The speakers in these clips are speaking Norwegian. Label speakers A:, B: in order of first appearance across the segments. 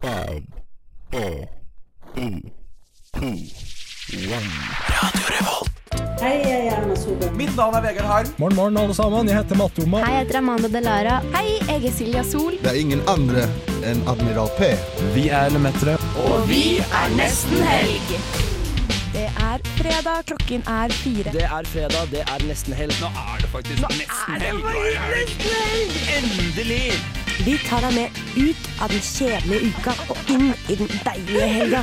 A: Five, four, three, two, one.
B: Hei, jeg er Erna Solberg.
C: Mitt navn er Vegard Harm.
D: Morgen, morgen, alle sammen. Jeg heter Matte Oma.
E: Hei, jeg heter Amanda Delara. Hei, jeg er Silja Sol.
F: Det er ingen andre enn Admiral P.
D: Vi er Lemetere.
E: Og vi er nesten helg. Det er fredag, klokken er fire.
C: Det er fredag, det er nesten helg. Nå er det faktisk nesten helg. Endelig!
G: Vi tar deg med ut av den kjedelige uka og inn i den deilige helga.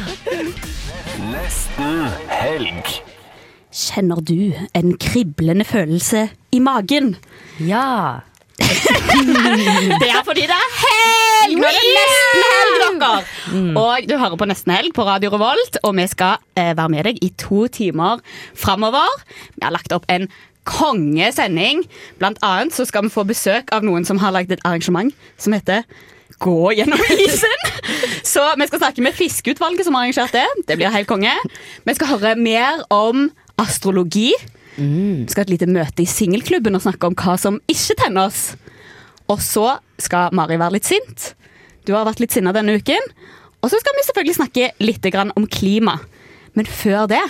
G: Kjenner du en kriblende følelse i magen?
H: Ja.
I: Det er fordi det er helg! Mm. Nå er det nesten helg, dere! Og du hører på Nesten helg på Radio Revolt, og vi skal eh, være med deg i to timer framover. Vi har lagt opp en kongesending. Blant annet så skal vi få besøk av noen som har lagd et arrangement som heter Gå gjennom isen! Så vi skal snakke med Fiskeutvalget som har arrangert det. Det blir helt konge. Vi skal høre mer om astrologi. Vi skal ha et lite møte i singelklubben og snakke om hva som ikke tenner oss. Og så skal Mari være litt sint. Du har vært litt sinna denne uken. Og så skal vi selvfølgelig snakke litt grann om klima. Men før det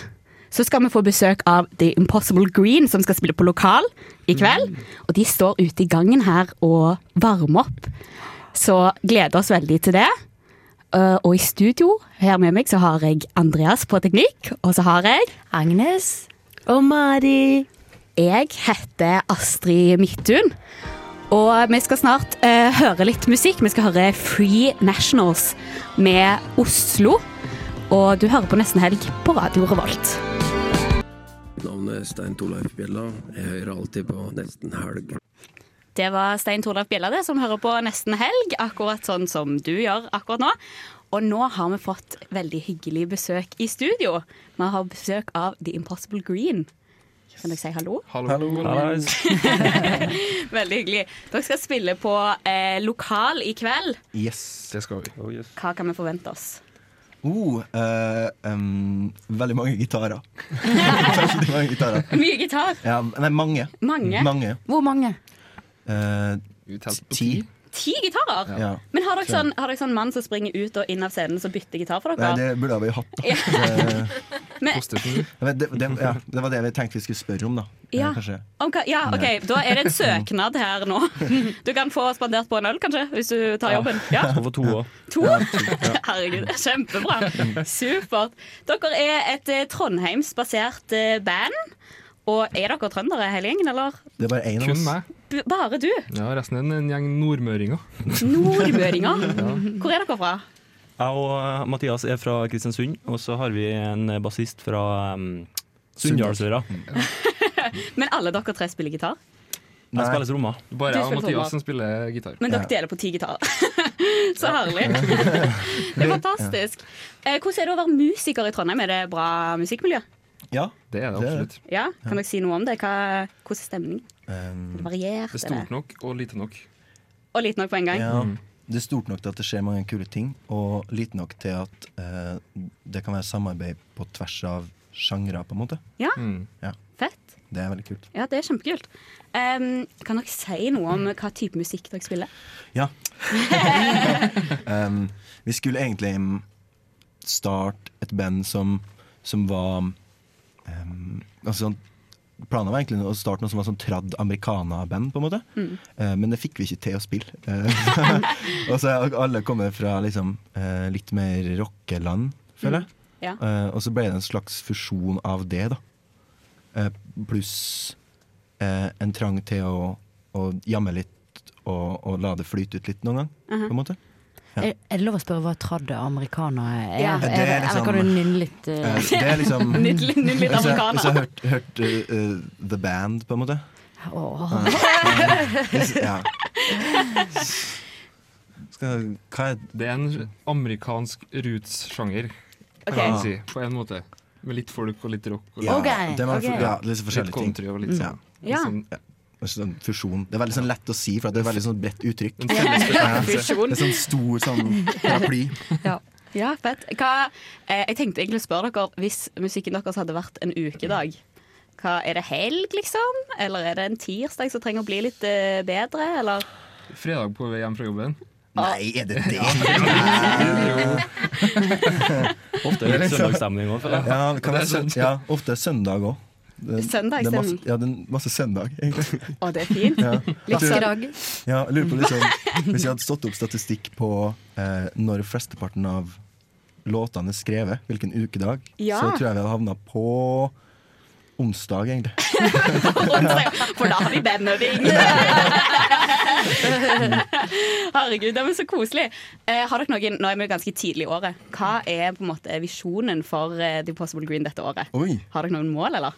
I: så skal vi få besøk av The Impossible Green, som skal spille på lokal i kveld.
H: Mm.
I: Og de står ute i gangen her og varmer opp. Så gleder oss veldig til det. Eh, Og i studio her med meg så har jeg Andreas på teknikk, og så har jeg
H: Agnes. Og Mari.
I: Jeg heter Astrid Midtun, og vi skal snart eh, høre litt musikk. Vi skal høre Free Nationals med Oslo. Og du hører på Nesten Helg på Radio Revolt.
C: Navnet er Stein Torleif Bjella. Jeg hører alltid på nesten helg.
I: Det var Stein Torleif Bjella det, som hører på Nesten Helg, akkurat sånn som du gjør akkurat nå. Og nå har vi fått veldig hyggelig besøk i studio. Vi har besøk av The Impossible Green. Kan dere si hallo? Veldig hyggelig. Dere skal spille på eh, lokal i kveld.
F: Yes, det skal vi.
I: Hva kan vi forvente oss?
F: Oh, eh, em, veldig mange gitarer. veldig mange gitarer.
I: Mye gitar.
F: Ja, nei, mange.
I: Mange.
F: Mange.
H: Hvor mange?
F: Eh, ti.
I: Ti gitarer!
F: Ja.
I: Men har dere, sånn, har dere sånn mann som springer ut og inn av scenen som bytter gitar for
F: Nei,
I: dere?
F: det burde vi hatt, da.
I: Ja.
F: Det,
I: Men,
F: men det, det, ja, det var det vi tenkte vi skulle spørre om, da. Eh,
I: Ja.
F: Kanskje.
I: om hva, ja, ok, Da er det en søknad her nå. Du kan få spandert på en øl, kanskje, hvis du tar jobben. Ja,
D: Over to år.
I: To? Herregud, det er kjempebra. Supert. Dere er et eh, Trondheims-basert eh, band. Og er dere trøndere hele gjengen, eller
F: Det er bare én av
D: Kun
F: oss.
D: meg.
I: b bare du?
D: Ja, resten er en- en gjeng nordmøringer.
I: Nordmøringer. Hvor er dere fra?
J: Jeg og eh, Mathias er fra Kristiansund, og så har vi en bassist fra um, Sunndalsøra.
I: Men alle dere tre spiller gitar?
J: Jeg spiller trommer.
I: Du
D: Bare jeg og
I: spiller
D: Mathias
I: trommer.
D: som spiller gitar.
I: Men dere deler på ti gitarer. Så herlig. Det er fantastisk. Eh, Hvordan er det å være musiker i Trondheim? Er det bra musikkmiljø?
F: Ja.
D: Det er
F: Det
D: det
F: er
D: absolutt.
I: Ja, Kan dere si noe om det? Hva, hvordan er stemningen?
F: Em,
I: Variert? eller?
D: Det er stort nok og lite nok.
I: Og lite nok på en gang?
F: ja. Det er stort nok til at det skjer mange kule ting, og lite nok til at eh, det kan være samarbeid på tvers av sjangre, på en måte.
I: Ja,
K: Mm.
I: Fett.
F: Det er veldig kult.
I: Ja, det er kjempekult. Em, kan dere si noe om hva type musikk dere spiller?
F: Ja. um, vi skulle egentlig mm, starte et band som, som var um, altså sånn, Planen var egentlig å starte noe som var sånn tradd americana-band, på en måte. Eh, men det fikk vi ikke til å spille. Eh, og så er alle kommet fra liksom, eh, litt mer rockeland, føler jeg.
I: Ja.
F: Eh, og så ble det en slags fusjon av det, da. Eh, pluss eh, en trang til å, å jamme litt og, og la det flyte ut litt noen gang. På en måte. Ja.
H: Er, er det lov å spørre hva tradde amerikanere er?
I: Ja.
H: er,
F: Det er
H: det-
F: liksom-
H: Eller kan du nynne litt?
F: Eh,
H: Uh,
F: det er liksom
I: Nytt, nytt litt
F: Hvis jeg hvis jeg
I: amerikaner.
F: har hørt, hørt eh, eh, The Band, på en måte.
H: åh.
F: Hvis, ja. Skal, hva er
D: Det er en amerikansk roots-sjanger, kan
I: Ok.
D: man si. På en måte. Med litt folk og litt rock. Og
F: ja,
H: Ok,
F: det er mange-
H: ok.
F: ja, litt
D: Litt
F: forskjellige ting.
D: country og litt
F: Ja.
D: sånn. Litt
I: Ja.
D: sånn-
F: En sånn fusjon. Det er veldig sånn lett å si, for at det er veldig sånn bredt uttrykk.
D: En felles
F: Ja, det
I: Fusjon.
F: er sånn stor sånn paraply.
I: Ja, fett. Hva, eh, jeg tenkte egentlig å spørre dere, hvis musikken deres hadde vært en ukedag, hva, er det helg, liksom? Eller er det en tirsdag som trenger å bli litt eh, bedre, eller?
D: fredag på vei hjem fra jobben.
F: Nei, er det det?
D: Jo,
J: Ofte er det litt søndagsstemning òg, føler jeg.
F: Ja, det kan være søn- ja, ofte er søndag òg. det er masse,
I: Søndagsstemning.
F: ja, det er masse søndag, egentlig.
I: Å, det er fint. Liksom.
F: Ja.
I: Litt
F: Jeg tror-
I: søndag.
F: Ja, jeg lurer på litt sånn Hvis jeg hadde stått opp statistikk på eh, når flesteparten av låtene er skrevet, hvilken ukedag,
I: Ja.
F: så tror jeg vi hadde havna på onsdag, egentlig.
I: For da har vi bandøving! Herregud, det er så koselig. Eh, har dere noen, nå er vi jo ganske tidlig i året. Hva er på en måte visjonen for eh, The Possible Green dette året?
F: Oi.
I: Har dere noen mål, eller?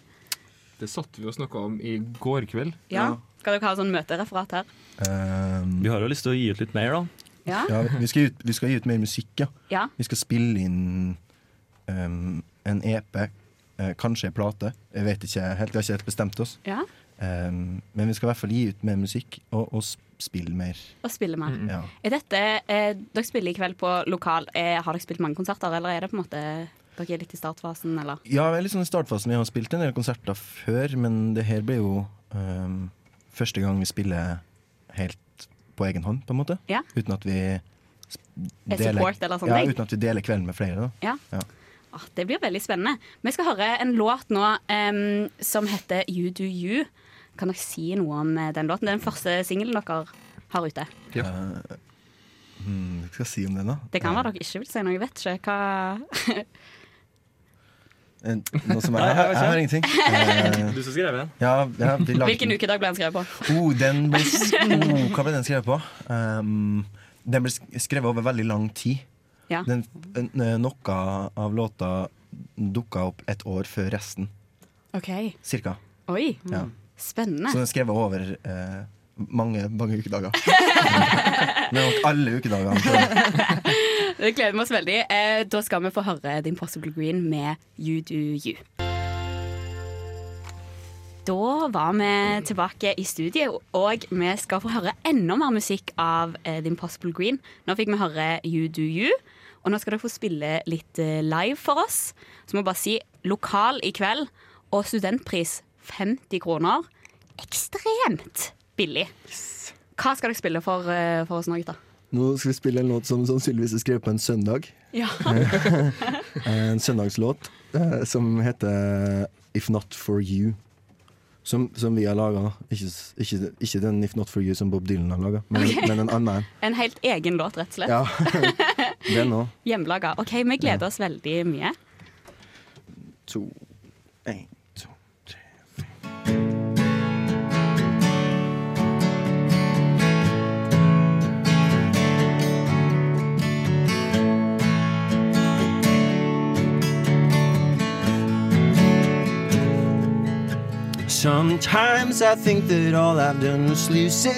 D: Det satt vi og snakka om i går kveld.
I: Ja. Skal dere ha sånn møtereferat her?
J: Vi har jo lyst til å gi ut litt mer, da.
I: Ja.
F: Ehm, Ja, vi, skal ut, vi skal gi ut mer musikk, ja.
I: Ja.
F: Vi skal spille inn ehm, en EP, eh, kanskje en plate. Jeg vet ikke helt, vi har ikke helt bestemt oss.
I: Ja.
F: Ehm, men vi skal i hvert fall gi ut mer musikk, og, og s- spille mer.
I: Og spille mer.
F: Ja.
I: Er dette, eh, dere spiller i kveld på lokal. Eh, har dere spilt mange konserter, eller er det på en måte dere er litt i startfasen, eller?
F: Ja, vi er litt sånn i startfasen. Vi har spilt en del konserter før, men det her blir jo ehm, første gang vi spiller helt på egen hånd, på en måte.
I: Ja.
F: Uten at vi s-
I: Er support eller sånne
F: ja,
I: ting?
F: uten at vi deler kvelden med flere. Da.
I: Ja.
F: Ja.
I: Ah, det blir veldig spennende. Vi skal høre en låt nå em, som heter You Do You. Kan dere si noe om eh, den låten? Det er den første singelen dere har ute.
F: Eh, hmm, hva skal jeg si om den, da?
I: Det kan være dere ikke vil si noe, jeg vet ikke hva
F: Eh, Noe som er,
J: Nei, jeg
F: jeg, jeg,
J: vet
F: har
J: ikke.
F: ingenting. Eh,
J: Du som skrev den?
F: ja, ja, vi lagde-
I: Hvilken ukedag ble den skrevet på?
F: Oh, den ble, s- oh, hva ble den skrevet på? Um, den ble sk- skrevet over veldig lang tid.
I: Ja.
F: Den, eh, n- noe av låta dukka opp et år før resten,
I: OK.
F: cirka.
I: Oi.
F: Ja. Så
I: Spennende.
F: den er skrevet over eh, mange, mange ukedager. Det var alle ukedagene. så-
I: Det gleder vi oss veldig. Eh, da skal vi få høre The Impossible Green med You Do You. Da var vi tilbake i studio, og vi skal få høre enda mer musikk av eh, The Impossible Green. Nå fikk vi høre You Do You, og nå skal dere få spille litt eh, live for oss. Så må jeg bare si lokal i kveld, og studentpris 50 kroner. Ekstremt billig. Hva skal dere spille for, eh, for oss nå, gutter?
F: Nå skal vi spille en låt som sannsynligvis er skrevet på en søndag.
I: Ja.
F: En søndagslåt eh, som heter If Not For You. Som, som vi har laga. Ikke, s- ikke, ikke den If Not For You som Bob Dylan har laga, men,
I: Ok.
F: men en annen en.
I: En helt egen låt, rett og slett.
F: Ja. Den òg.
I: Hjemmelaga. OK, vi gleder oss veldig mye.
F: To, én.
L: Sometimes I think that all I've done was losing.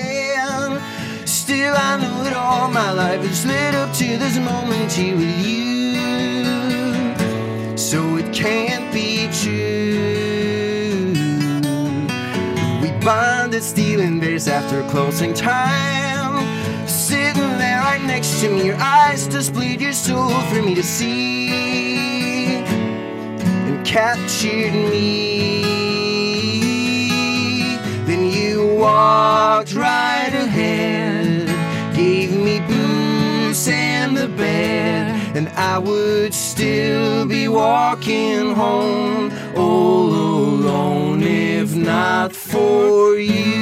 L: Still, I know that all my life has led up to this moment here with you. So it can't be true. We bonded, stealing beers after closing time. Sitting there right next to me, your eyes displayed your soul for me to see. And captured me. Then you walked right ahead, gave me booze and the bed, and I would still be walking home all alone if not for you.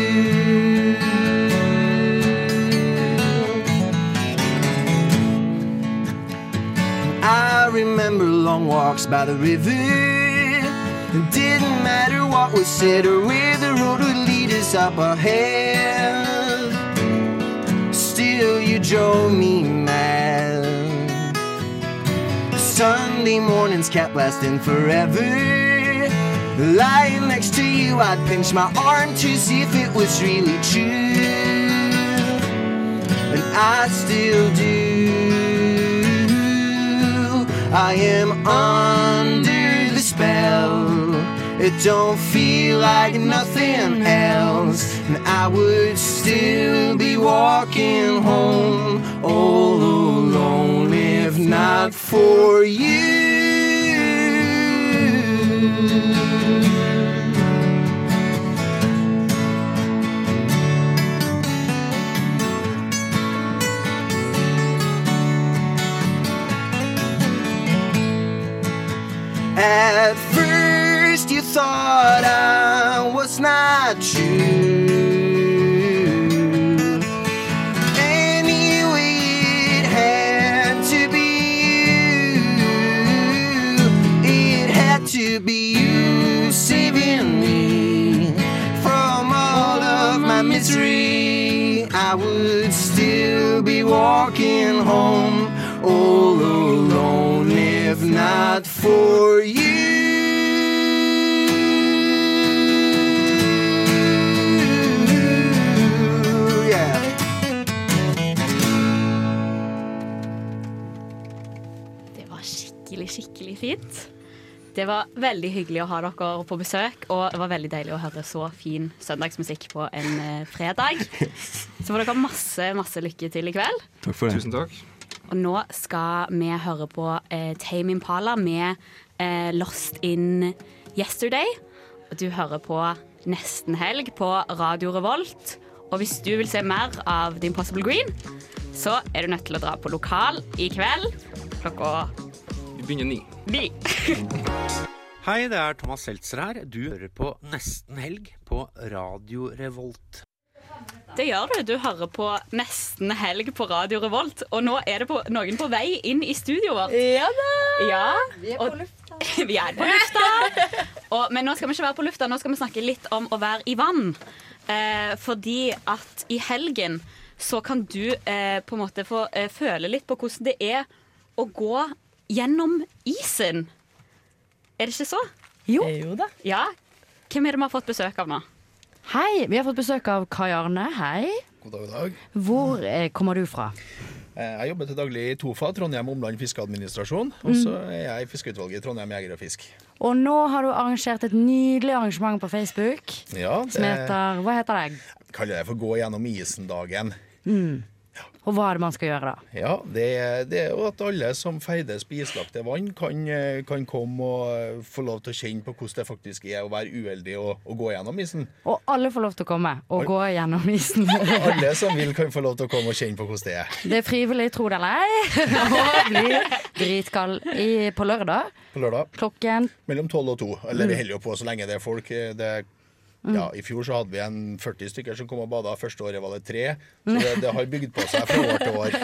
L: I remember long walks by the river. It didn't matter what was said or where the road would lead us up ahead. Still, you drove me mad. Sunday mornings kept lasting forever. Lying next to you, I'd pinch my arm to see if it was really true. And I still do. I am under the spell. It don't feel like nothing else. And I would still be walking home all alone if not for you. At first you thought I was not you. Anyway, it had to be you. It had to be you saving me from all of my misery. I would still be walking home all alone if not for you. Yeah.
I: Det var skikkelig, skikkelig fint. Det var veldig hyggelig å ha dere på besøk, og det var veldig deilig å høre så fin søndagsmusikk på en eh, fredag. Så får dere masse, masse lykke til i kveld.
F: Takk for det.
D: Tusen takk.
I: Og nå skal vi høre på eh, Tame Impala med eh, Lost in Yesterday. Og du hører på Nesten Helg på Radio Revolt. Og hvis du vil se mer av The Impossible Green, så er du nødt til å dra på lokal i kveld klokka
D: Vi begynner ni.
I: ni.
M: Hei, det er Thomas Seltzer her. Du hører på Nesten helg på Radio Revolt.
I: Det gjør du. Du hører på Nesten helg på Radio Revolt. Og nå er det på, noen på vei inn i studioet vårt.
N: Ja da!
I: Ja,
N: Vi er på
I: og- vi er på lufta. Og, men nå skal vi ikke være på lufta, nå skal vi snakke litt om å være i vann. Eh, fordi at i helgen så kan du eh, på en måte få eh, føle litt på hvordan det er å gå gjennom isen. Er det ikke så?
H: Jo.
N: da.
I: Ja. Hvem er det vi har fått besøk av nå?
H: Hei, vi har fått besøk av Kai Arne. Hei.
O: God dag, god dag.
H: Hvor eh, kommer du fra?
O: Eh, Jeg jobber til daglig i Tofa, Trondheim Omland fiskeadministrasjon. Og så er jeg i fiskeutvalget i Trondheim Jeger og Fisk.
H: Mm. Og nå har du arrangert et nydelig arrangement på Facebook
O: Ja,
H: som heter Hva heter det?
O: Jeg kaller det for gå gjennom isen-dagen.
H: Mm. Og hva er det man skal gjøre da?
O: Ja, det, det er jo at alle som ferdes på islagte vann, kan, eh, kan komme og eh, få lov til å kjenne på hvordan det faktisk er å være uheldig og, og gå gjennom isen.
H: Og alle får lov til å komme og
O: Oi.
H: gå gjennom isen.
O: Alle som vil, kan få lov til å komme og kjenne på hvordan det er.
H: Det er frivillig, tro det eller ei. Og blir dritkald i- på lørdag.
O: På lørdag.
H: Klokken
O: Mellom tolv og to. Eller vi
H: Mm.
O: holder jo på så lenge det er folk. eh, Det,
H: Mm.
O: ja, I fjor så hadde vi en 40 stykker som kom og bada. Første året var det tre. Så det, det har bygd på seg fra år til år.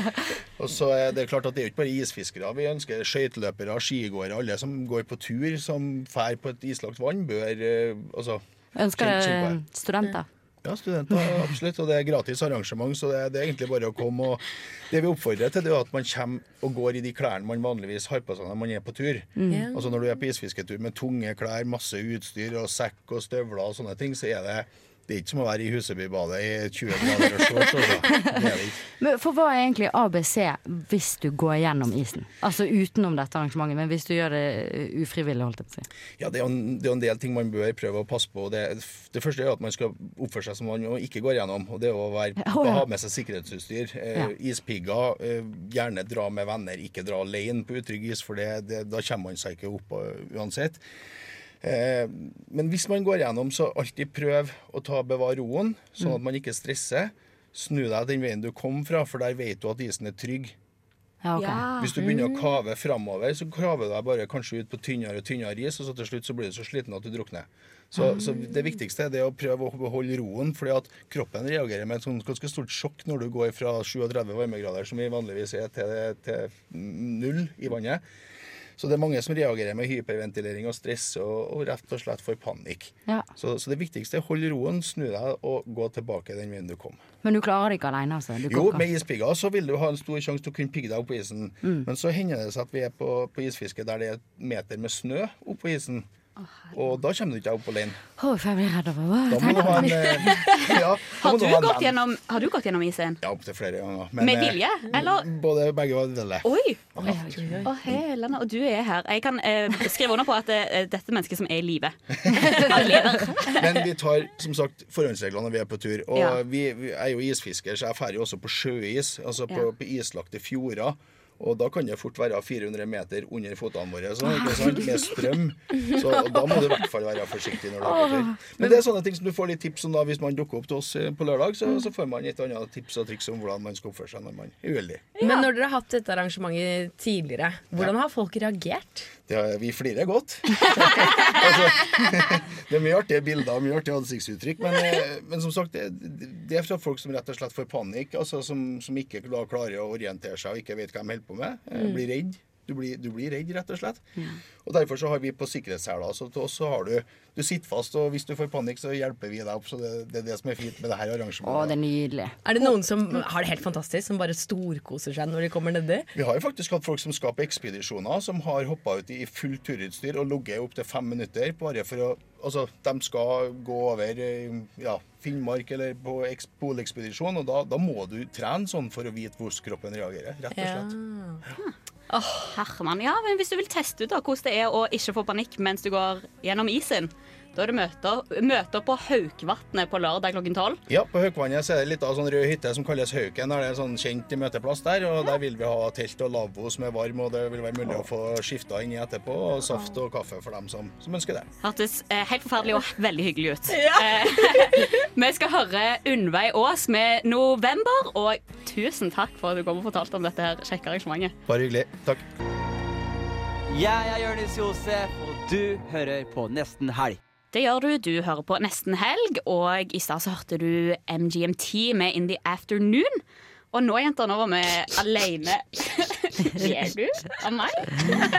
O: Og så er Det klart at det er jo ikke bare isfiskere. Vi ønsker skøyteløpere, skigåere, alle som går på tur, som fær på et islagt vann, bør eh, altså,
H: ønsker
O: kjenne- kjenne på
H: dere
O: det.
H: studenter.
O: Ja, studenter, absolutt. Og det er gratis arrangement, så det, det er egentlig bare å komme. Og det vi oppfordrer til, det er at man kommer og går i de klærne man vanligvis har på seg når man er på tur.
P: Mm. Ja.
O: Altså Når du er på isfisketur med tunge klær, masse utstyr og sekk og støvler og sånne ting, så er det det er ikke som å være i Husebybadet i 20 grader og shorts. Altså. Det er det ikke.
H: Men for hva er egentlig ABC hvis du går gjennom isen? Altså utenom dette arrangementet, men hvis du gjør det eh, ufrivillig, holdt jeg på å si.
O: Ja, det er, jo en, det er jo en del ting man bør prøve å passe på. Det, det første er jo at man skal oppføre seg som man jo ikke går gjennom. og Det er å være,
H: Å, ja.
O: ha med seg sikkerhetsutstyr. Eh,
H: Ja.
O: Ispigger. Eh, gjerne dra med venner, ikke dra alene på utrygg is, for det, det, da kommer man seg ikke opp eh, uansett. Eh, men hvis man går gjennom, så alltid prøv å ta bevare roen, sånn
H: Mm.
O: at man ikke stresser. Snu deg den veien du kom fra, for der vet du at isen er trygg.
H: Ja, ok.
O: Hvis du begynner å kave framover, så kaver du deg bare kanskje ut på tynnere og tynnere is, og så til slutt så blir du så sliten at du drukner. Så,
H: Ah.
O: så det viktigste er det å prøve å beholde roen, fordi at kroppen reagerer med et sånn ganske stort sjokk når du går fra 37 varmegrader, som vi vanligvis er, til, til null i vannet. Så det er mange som reagerer med hyperventilering og stress og, og rett og slett får panikk.
H: Ja.
O: Så, så det viktigste er hold roen, snu deg og gå tilbake den veien du kom.
H: Men du klarer det ikke alene, altså? Du
O: Jo,
H: kan
O: med
H: ikke-
O: ispigger så vil du ha en stor sjanse til å kunne pigge deg opp på isen.
H: Mm.
O: Men så hender det seg at vi er på, på isfiske der det er et meter med snø opp på isen. og da kommer du ikke deg opp alene.
H: Å, for jeg blir redd over hva
O: Da må du ha en eh, ja, da
I: Har
O: må
I: du,
O: ha en
I: gått
O: venn.
I: gjennom, har du gått gjennom isen?
O: Ja, opptil flere ganger.
I: Med
O: eh,
I: vilje, eller?
O: Både begge og dele.
I: Oi! Å, helene, og du er her. Jeg kan eh, skrive under på at eh, dette er mennesket som er i live.
O: Men vi tar som sagt forhåndsreglene når vi er på tur. Og
I: Ja.
O: vi, vi er jo isfisker, så jeg drar jo også på sjøis, altså på,
I: Ja.
O: på islagte fjorder. Og da kan det fort være 400 meter under føttene våre så, ikke sant? med strøm. Så da må du i hvert fall være forsiktig. når du er på tur. Men det er sånne ting som du får litt tips om da, hvis man dukker opp til oss eh, på
I: Mm.
O: lørdag. Så, så får man et annet tips og triks om hvordan man skal oppføre seg når man er uheldig.
N: Men når dere har hatt dette arrangementet tidligere, hvordan har folk reagert?
O: Det, er- vi flirer godt. altså, det er mye artige bilder og mye artige ansiktsuttrykk, men, eh, men som sagt, det, det er fra folk som rett og slett får panikk, altså som, som ikke da klarer å orientere seg og ikke vet hva de holder på med. eh,
P: Mm.
O: Blir redd. Du blir, du blir redd, rett og slett. Og Derfor så har vi på sikkerhetssela så til oss så har du Du sitter fast, og hvis du får panikk, så hjelper vi deg opp. Så det, det er det som er fint med det her arrangementet.
H: Å, det er nydelig.
N: Er det noen som har det helt fantastisk, som bare storkoser seg når de kommer nedi?
O: Vi har jo faktisk hatt folk som skal på ekspedisjoner, som har hoppa ut i fullt turutstyr og ligget opptil fem minutter bare for å Altså, de skal gå over eh, ja, Finnmark eller på eks- polekspedisjon, og da, da må du trene sånn for å vite hvordan kroppen reagerer, rett og slett.
I: Åh, Herman, ja, men Hvis du vil teste ut da, hvordan det er å ikke få panikk mens du går gjennom isen, da er det møter, møter på Haukvatnet på lørdag klokken tolv.
O: Ja, på Haukvannet så er det litt av sånn rød hytte som kalles Hauken. Der det er en sånn kjent møteplass der, og der vil vi ha telt og lavvo som er varm, og det vil være mulig å få skifta inn i etterpå, og saft og kaffe for dem som, som ønsker det.
I: Hørtes eh, helt forferdelig og veldig hyggelig ut. Eh, vi skal høre Unnveig Aas med 'November', og tusen takk for at du kom og fortalte om dette her kjekke arrangementet.
O: Bare hyggelig. Takk.
K: Jeg er Jonis Josef, og du hører på Nesten Helg.
I: Det gjør du. Du hører på Nesten Helg, og i stad så hørte du MGMT med 'In the Afternoon'. Og nå, jenter, nå var vi aleine Ler du av meg?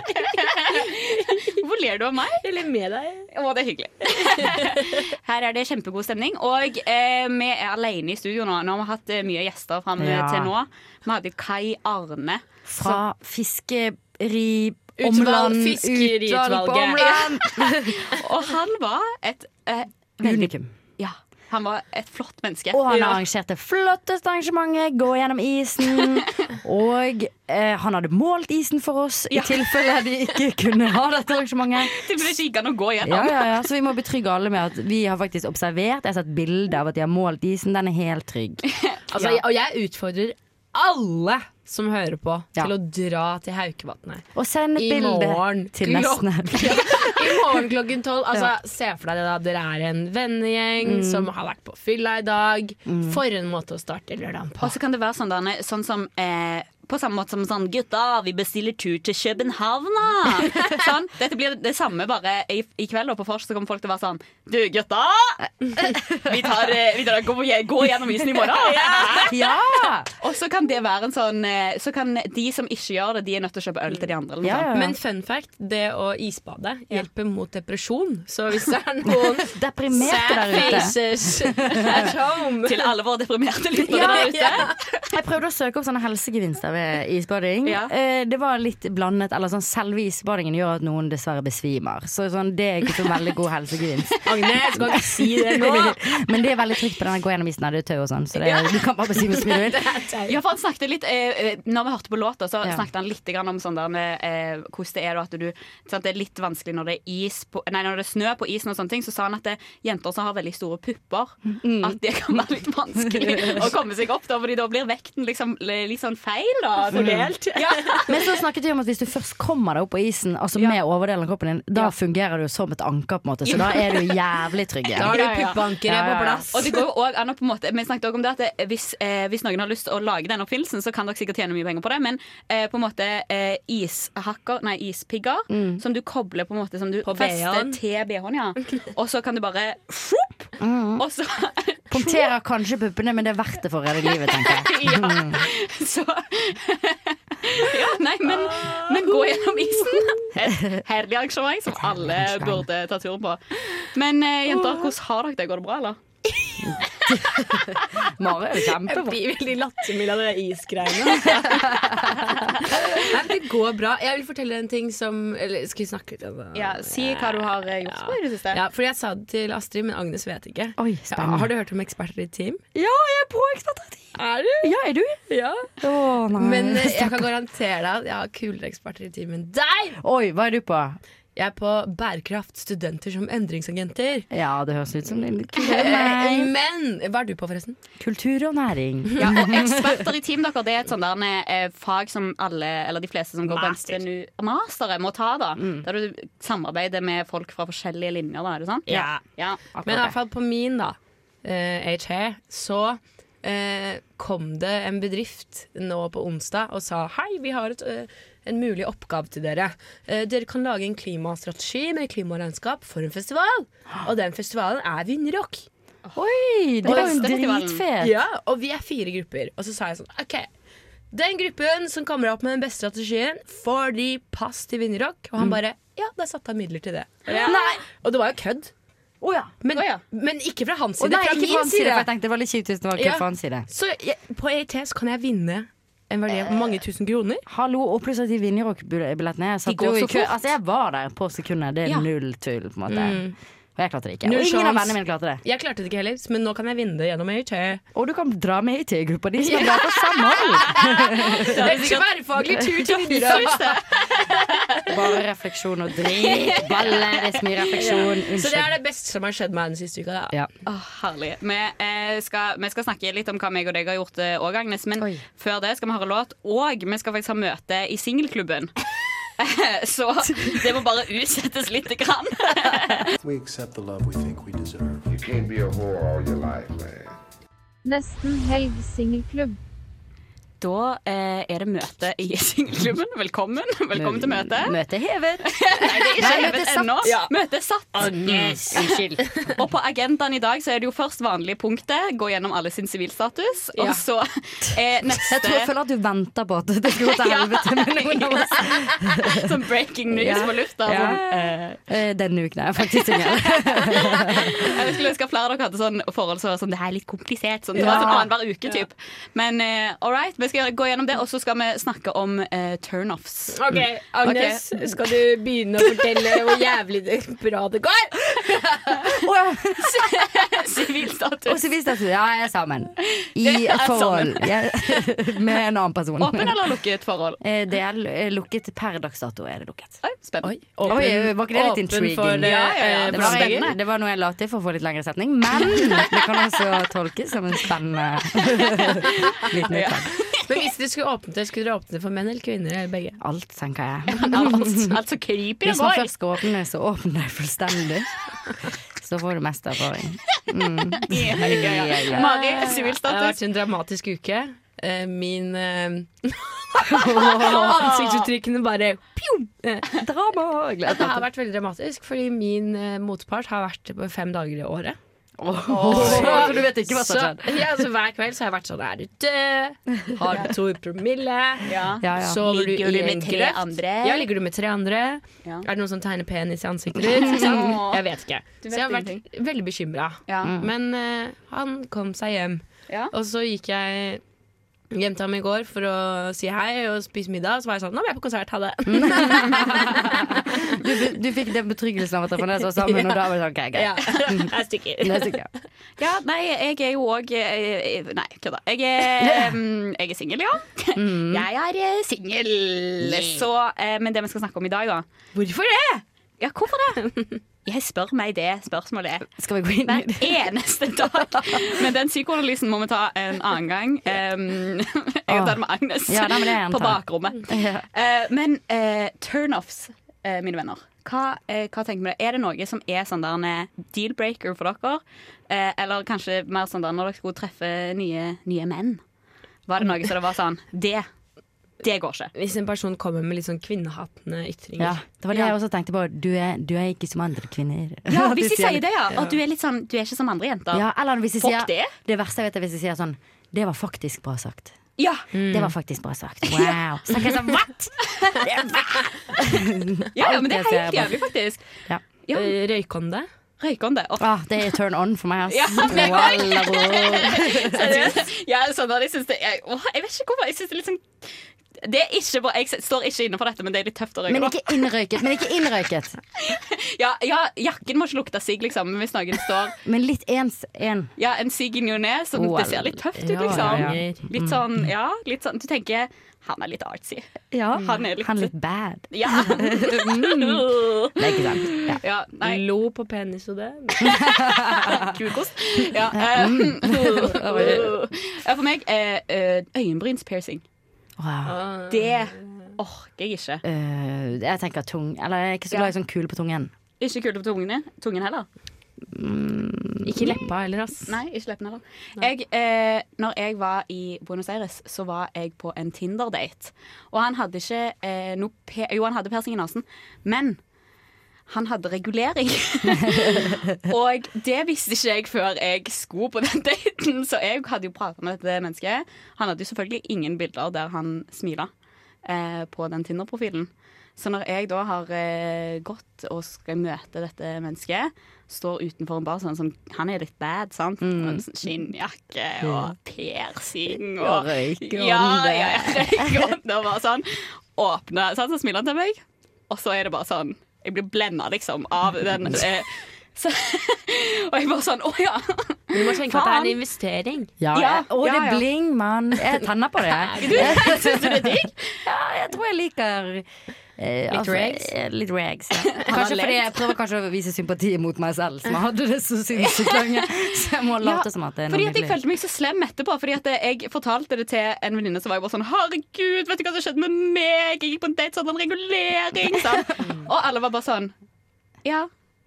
I: Hvorfor ler du av meg? Jeg ler med deg. Å, det er hyggelig. Her er det kjempegod stemning. Og eh, vi er alene i studio nå. Nå har vi hatt eh, mye gjester fram eh,
H: Ja.
I: til nå. Vi hadde Kai Arne.
H: Fra fiskeri...
I: Utvalg-
H: Omland,
I: Fiskeriutvalget.
H: utvalg på Omland.
I: og han var et eh,
H: Unikum.
I: Ja, han var et flott menneske.
H: Og han
I: ja.
H: arrangerte flotteste arrangementet, gå gjennom isen. Og eh, han hadde målt isen for oss i tilfelle de ikke kunne ha dette arrangementet.
I: Det ble ikke gikk an å gå
H: Ja,
I: gjennom.
H: ja, ja, Så vi må betrygge alle med at vi har faktisk observert. Jeg har sett bilde av at de har målt isen. Den er helt trygg.
N: Altså,
H: Ja.
N: Og jeg utfordrer alle som hører på, til å dra til Haukevatnet.
H: Og send et
N: I morgen
H: bilde til
N: klok-
H: nesten helg.
N: I morgen klokken tolv. Altså,
H: Ja.
N: Se for deg det, da. Dere er en vennegjeng
I: Mm.
N: som har vært på fylla i dag.
I: Mm.
N: For en måte å starte lørdagen på.
I: Og så kan det være sånn, Dane, sånn som eh, På samme måte som sånn Gutta, vi bestiller tur til København! da!» sånn. Dette blir det samme bare i, i kveld, og på vors så kommer folk til å være sånn Du, gutta! Vi tar, eh, vi tar går, går gjennom isen i morgen!
H: Ja.
I: Og så kan det være en sånn eh, Så kan de som ikke gjør det, de er nødt til å kjøpe øl til de andre. Eller noe sånt.
N: Men fun fact, det å isbade hjelper mot depresjon. Så hvis det er noen
H: Deprimerte
N: sad
H: der ute.
N: faces at home
I: Til alle våre deprimerte lyttere
H: Ja,
I: der ute.
H: Jeg prøvde å søke opp sånne helsegevinster ved isbading. Eh, Det var litt blandet. Eller sånn, selve isbadingen gjør at noen dessverre besvimer. Så sånn, det er ikke så veldig god helsegevinst.
N: Agnes, skal ikke si det nå!
H: Men det er veldig trygt på den gå gjennom isen av det tau og sånn, så det, du kan bare besvime så mye du vil.
I: Ja, for han snakket litt eh, eh, Når vi hørte på låta, så
H: Ja.
I: snakket han litt grann om sånn der, med, eh, hvordan det er da at du sant, Det er litt vanskelig når det er, is på, nei, når det er snø på isen og sånne ting. Så sa han at det, er jenter som har veldig store pupper, at det kan være litt vanskelig å komme seg opp, da, Fordi da blir vekten liksom l- litt sånn feil. Da, fordelt. Ja.
H: Men så snakket vi om at hvis du først kommer deg opp på isen, altså med overdelen av kroppen din, da fungerer du jo som et anker, på en måte, så da er du jævlig trygg. igjen.
I: Ja, ja, ja.
H: Ja, ja, ja.
I: Og det går jo også an å på en måte Vi snakket også om det at eh, hvis, eh, hvis noen har lyst til å lage den oppfinnelsen, så kan dere sikkert tjene mye penger på det, men eh, på en måte eh, ishakker, nei, ispigger
H: Mm.
I: som du kobler på en måte som du
N: På
I: fester
N: BH-en.
I: til BH-en, ja. Og så kan du bare fjopp,
H: Mm.
I: Og så
H: Punkterer kanskje puppene, men det er verdt det for å redde livet, tenker jeg.
I: Ja.
H: Mm.
I: Så Ja, nei, men, men gå gjennom isen. Et herlig arrangement som alle burde ta turen på. Men eh, jenter, hvordan har dere det? Går det bra, eller?
H: Mari er jo
N: Jeg
H: kjempebra.
N: blir veldig lattermild av det isgreiene. Nei, men det går bra. Jeg vil fortelle en ting som Eller skal vi snakke litt om det?
I: Ja, si hva du har eh, gjort på i det siste.
N: Ja, for jeg sa det til Astrid, men Agnes vet ikke. ja,
I: spennende.
N: har du hørt om Eksperter i team?
H: Ja, jeg er på Eksperter i team!
N: Er du?
H: Ja, er du?
N: Ja.
H: Å, nei.
N: eh, Men eh, jeg kan garantere deg at jeg har kulere eksperter i team enn deg!
H: Oi, hva er du på?
N: Jeg er på bærekraft, studenter som endringsagenter.
H: Ja, det høres ut som det er litt kul.
N: Eh, Men hva er du på, forresten?
H: Kultur og næring.
I: Ja, og eksperter i team dere, det er et sånt der, eh, fag som alle, eller de fleste som går på
H: Master.
I: NTNU Masteret må ta, da. Der du samarbeider med folk fra forskjellige linjer, da, er det sånn?
N: Ja.
I: ja
N: Men i hvert fall på min, da, eh, HE, så eh, kom det en bedrift nå på onsdag og sa hei, vi har et, eh, en mulig oppgave til dere. Eh, dere kan lage en klimastrategi med klimaregnskap for en festival. Og den festivalen er Vindrock.
H: Oi, det
N: Og-
H: var jo dritfet.
N: Ja, og vi er fire grupper. Og så sa jeg sånn OK. Den gruppen som kommer opp med den beste strategien, får de pass til Vinjerock.
H: Mm.
N: Og han bare Ja, det er satt av midler til det. Nei. Og det var jo kødd. Men, men ikke fra hans
H: Å
N: side.
H: nei,
N: fra
H: ikke
N: min
H: fra hans side,
N: side.
H: for jeg tenkte det var litt kjipt hvis det var
N: Ja.
H: kun fra hans side.
N: Så jeg, på EIT så kan jeg vinne en verdi av mange tusen kroner.
H: Hallo, og pluss at de Vinjerock-billettene Jeg satt
N: går
H: jo i
N: så
H: kø.
N: fort.
H: Altså, jeg var der på sekundet. Det er
N: Ja.
H: null tull, på en måte.
N: Mm.
H: Og jeg klarte det ikke. Og ingen av vennene mine klarte det.
N: Jeg klarte det ikke heller, men nå kan jeg vinne det gjennom E EIT.
H: Og du kan dra med i T-gruppa di, som er glad for samhold.
N: Det er tverrfaglig tur til Vinjerock.
H: Bare refleksjon og dritballe. Det er så mye refleksjon.
N: Så det
H: Unnskyld.
N: er det beste som har skjedd meg den siste uka. Da.
H: Ja.
I: Åh, herlig. Vi, eh, skal, vi skal snakke litt om hva meg og deg har gjort eh, òg, Agnes. Men før det skal vi høre låt, og vi skal faktisk ha møte i singelklubben. Så det må bare utsettes lite grann.
P: We accept the love we think we deserve. You can't be a whore all your life, man.
Q: Nesten helg singelklubb.
I: Da eh, er det møte i singelklubben. Velkommen. Velkommen til møtet.
H: Møtet hevet.
I: Nei, det er ikke
H: Nei, møtet
I: hevet
H: satt.
I: ennå.
H: Ja.
I: Møtet satt.
H: Agnes, unnskyld.
I: Og på agendaen i dag så er det jo først vanlig punktet, gå gjennom alle sin sivilstatus, og
H: Ja.
I: så eh, neste
H: Jeg tror jeg føler at du venter på at det skal gå til
I: Ja.
H: helvete med noen av oss.
I: Som breaking news
H: Ja.
I: på lufta.
H: Ja.
I: sånn, eh,
H: Eh, Denne uken er jeg faktisk singel.
I: Jeg skulle ønske at flere av dere hadde sånn forhold som var sånn Det her er litt komplisert. Sånn. Det var
H: Ja.
I: sånn annenhver uke, typ. Men eh, all right, vi skal gå gjennom det, og så skal vi snakke om eh, turnoffs.
N: Ok,
I: Mm.
N: Agnes,
I: Ok.
N: skal du begynne å fortelle hvor jævlig det bra det går?
I: Sivilstatus.
H: Og sivilstatus. Ja, jeg er sammen. I
I: Det er
H: et forhold.
I: sammen.
H: Jeg, med en annen person.
I: Åpen eller lukket forhold?
H: Eh, Det er l- eh, lukket per dags dato. er det lukket
I: Spennende.
H: Oi, var ikke det litt intriguing?
I: ja, ja, ja,
H: det, var,
I: spennende.
H: det var noe jeg la til for å få litt lengre setning, men det kan også tolkes som en spennende liten utvei.
N: Men hvis dere skulle åpnet det, skulle dere åpnet det for menn eller kvinner eller begge?
H: Alt, tenker jeg.
I: Alt, alt så creepy det
H: Hvis man
I: går.
H: først skal åpne, så åpner jeg fullstendig. Så får du mest erfaring. Mm.
I: Ja, ja, ja. Mari, sivilstatus?
N: Eh, Det har vært en dramatisk uke. Eh, Min eh,
H: Ansiktsuttrykk.
N: Ansiktsuttrykkene bare pjom! Eh,
H: Drama!
N: Det har vært veldig dramatisk, fordi min eh, motpart har vært på fem dager i året.
H: så du vet ikke hva som har
N: Så-
I: sånn.
H: skjedd?
N: Ja, så Hver kveld så har jeg vært sånn Er du død? Har du to promille?
H: Ja, ja.
N: Sover du
I: Ligger
N: i
I: du med
N: en
I: tre
N: grøft?
I: andre?
N: Ja, ligger du med tre andre?
I: Ja.
N: Er det noen som tegner penis i ansiktet ditt? Sånn, Jeg vet ikke.
I: Du
N: Så
I: vet
N: jeg har vært veldig bekymra.
I: Ja. Mm.
N: Men eh, han kom seg hjem. Og så gikk jeg hjem til ham i går for å si hei og spise middag. Så var jeg sånn Nå må jeg på konsert, ha det.
H: Du, du fikk den betryggelsen av at dere fremdeles var sammen, og da var det sånn, ok,
N: Ja.
H: greit.
N: Jeg stikker.
H: Det er sikkert.
I: Ja, nei, jeg er jo òg Nei, kødda. Jeg er, mm, jeg er singel, ja.
N: Mm.
I: Jeg er eh, singel. Så eh, Men det vi skal snakke om i dag, da
N: Hvorfor det?
I: Ja, hvorfor det? Jeg spør meg det spørsmålet.
H: Skal vi gå inn i
I: Hver eneste dag. Men den psykoanalysen må vi ta en annen gang. Um, jeg kan ta det med Agnes
H: Ja, nei, men det er en
I: på
H: ta.
I: bakrommet.
H: Ja.
I: Eh, men eh, turnoffs, eh, mine venner. Hva, eh, hva tenker vi det? Er det noe som er sånn der en deal-breaker for dere? Eh, eller kanskje mer sånn der når dere skulle treffe nye, nye menn? Var det noe som det var sånn Det, det går ikke.
N: Hvis en person kommer med litt sånn kvinnehatende ytringer.
H: Ja, det var det jeg også tenkte på. Du er, du er ikke som andre kvinner.
I: Ja,
H: At de
I: hvis de sier det, ja.
H: Ja.
I: Og du er litt sånn Du er ikke som andre jenter.
H: Ja, eller hvis de
I: Fuck
H: sier,
I: det.
H: det verste jeg vet er hvis de sier sånn Det var faktisk bra sagt.
I: Ja.
H: Det var faktisk bra sagt. Wow. Så tenker jeg sånn, what?!
I: Ja, ja, men det er helt
H: Alt jeg ser
I: jævlig, faktisk.
H: Ja.
I: Ja.
N: Eh, Røykonde?
I: Røykonde. Åh.
H: Ah, det er turn on for meg, ass.
I: Ja, det var det.
H: Walla, bro.
I: Seriøst. Jeg er sånn der, jeg synes det er, åh, jeg vet ikke hvorfor. Jeg syns det er litt sånn Det er ikke bra. Jeg står ikke inne for dette, men det er litt tøft å røyke.
H: Men
I: da.
H: ikke innrøyket. Men ikke innrøyket.
I: Ja, ja, jakken må ikke lukte sigg, liksom, men hvis noen står
H: Men litt ens en.
I: Ja, en sigg i ny og ne, som
H: Oh,
I: det ser litt tøft ut,
H: ja,
I: liksom.
H: ja, Mm. ja.
I: Litt sånn, ja, litt sånn Du tenker han er litt artsy.
H: Ja.
I: Han er litt-
H: bad.
I: Ja.
H: Det er ikke sant. Ja.
I: ja nei.
N: Lo på penis og det.
I: Kukost. Ja, eh,
N: Mm.
I: Ja, for meg eh, eh, øyenbrynspiercing.
H: Wow.
I: Det orker jeg ikke.
H: Øh, jeg tenker tung Eller jeg er ikke så glad i sånn kule på tungen.
I: Ikke kult på tungene. tungen heller.
N: Ikke leppa heller, ass.
I: Nei, ikke leppene heller. Jeg, eh, når jeg var i Buenos Aires, så var jeg på en Tinder-date. Og han hadde ikke eh, noe pe Jo, han hadde persing i nesen, men han hadde regulering. og det visste ikke jeg før jeg skulle på den daten, så jeg hadde jo prata med dette mennesket. Han hadde jo selvfølgelig ingen bilder der han smila eh, på den Tinder-profilen. Så når jeg da har eh, gått og skal møte dette mennesket, står utenfor en bar sånn som Han er litt bad, sant? Og en sånn Skinnjakke
H: Ja.
I: og piercing
H: Og
I: og
H: røykeånde.
I: Ja, ja, ja, røykeånde og bare sånn. Åpne, sant? Så smiler han til meg, og så er det bare sånn Jeg blir blenda, liksom, av den eh, så, Og jeg bare sånn Å ja!
N: Du må tenke at det er en
I: Faen.
N: investering.
H: Ja,
I: Ja,
H: Å, det
I: ja,
H: er
I: ja.
H: bling, mann. Jeg tenner på det.
I: Du, synes du det er digg?
H: Ja, jeg tror jeg liker eh,
N: Litt rags?
H: eh, Litt rags, ja.
I: Han har
H: Kanskje fordi
I: levd.
H: jeg prøver kanskje å vise sympati mot meg selv, som jeg hadde det så sinnssykt lenge. Så jeg må late
I: Ja,
H: som at det er noe
I: Fordi at jeg
H: mitt liv.
I: følte meg så slem etterpå. Fordi at jeg fortalte det til en venninne som var jeg bare sånn Herregud, vet du hva som skjedde med meg? Jeg gikk på en date, så hadde han regulering. Sant? Og alle var bare sånn Ja.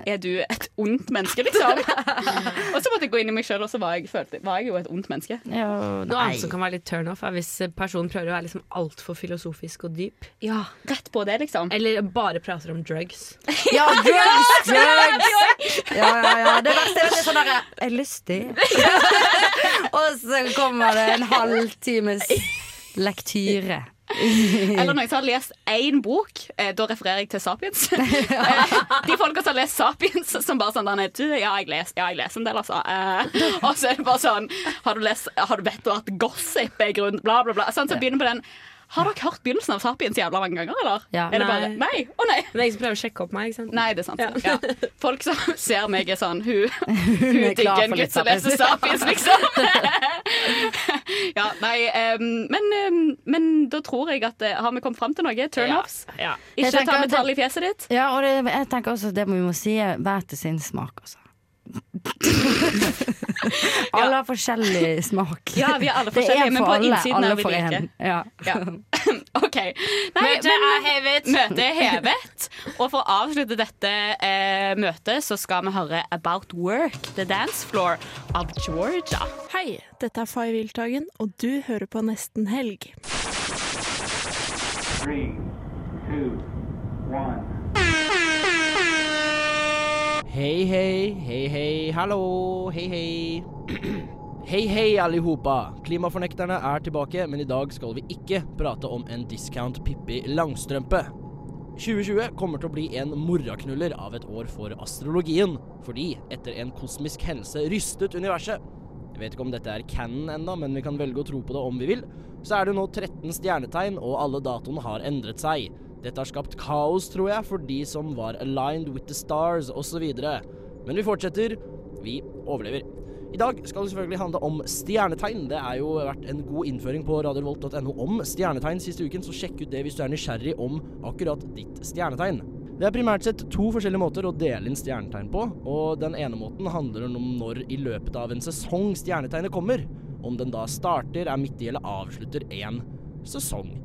I: Er du et ondt menneske, liksom? og så måtte jeg gå inn i meg sjøl, og så var jeg, følte, var jeg jo et ondt menneske.
N: Noe annet som kan være litt turnoff, er hvis personen prøver å være liksom altfor filosofisk og dyp.
I: Ja, rett på det, liksom.
N: Eller bare prater om drugs.
H: Ja, drugs, drugs! Ja, ja, ja. Det verste er at det er sånn derre Jeg har lyst til Og så kommer det en halvtimes lektyre.
I: Eller noen som har lest én bok. Eh, da refererer jeg til Sapiens. eh, de folka som har lest Sapiens, som bare sånn der, du, ja, jeg leser, ja, jeg leser en del, altså. Eh, og så er det bare sånn Har du, lest, har du bedt om at gossip er grunn Bla, bla, bla. Sånn, så begynner på den. Har dere hørt begynnelsen av Sapiens jævla mange ganger, eller?
N: Ja.
I: er det bare,
N: Nei.
I: nei. Å nei.
N: Men det er ingen som prøver å sjekke opp meg, ikke sant?
I: Nei, det er sant. Ja. Folk som ser meg, er sånn Hun, hun
N: er klar
I: digger
N: for
I: en
N: litt
I: gutt som leser
N: Sapiens.
I: Sapiens, liksom. ja, nei, ehm, men, ehm, men da tror jeg at eh, Har vi kommet fram til noe? Turnoffs?
N: Ja.
H: Jeg
I: Ikke
H: tenker
I: ta
H: at
I: metall i
H: det-
I: fjeset ditt?
H: Ja, og det, jeg tenker også at det vi må si, er hver til sin smak, altså. alle har forskjellig smak.
I: Ja, vi er alle
H: det
I: forskjellige,
H: er
I: men
H: for
I: på
H: alle,
I: innsiden er
H: alle
I: vi
H: for
I: like.
H: en. Ja.
I: Ja. OK.
N: Møtet er hevet.
I: Møtet er hevet. Og for å avslutte dette eh, møtet, så skal vi høre About Work, The Dance Floor av Georgia.
R: Hei, dette er Fay Wiltagen, og du hører på Nesten helg.
K: Hei, hei, hei, hei, hallo, hei, hei. Hei, hei, allihopa. Klimafornekterne er tilbake, men i dag skal vi ikke prate om en discount Pippi Langstrømpe. 2020 kommer til å bli en morraknuller av et år for astrologien, fordi etter en kosmisk hendelse rystet universet. Jeg vet ikke om dette er canon ennå, men vi kan velge å tro på det om vi vil. Så er det nå 13 stjernetegn, og alle datoene har endret seg. Dette har skapt kaos, tror jeg, for de som var aligned with the stars, osv. Men vi fortsetter. Vi overlever. I dag skal det selvfølgelig handle om stjernetegn. Det er jo vært en god innføring på radiorevolt.no om stjernetegn siste uken, så sjekk ut det hvis du er nysgjerrig om akkurat ditt stjernetegn. Det er primært sett to forskjellige måter å dele inn stjernetegn på, og den ene måten handler om når i løpet av en sesong stjernetegnet kommer. Om den da starter, er midt i eller avslutter en sesong.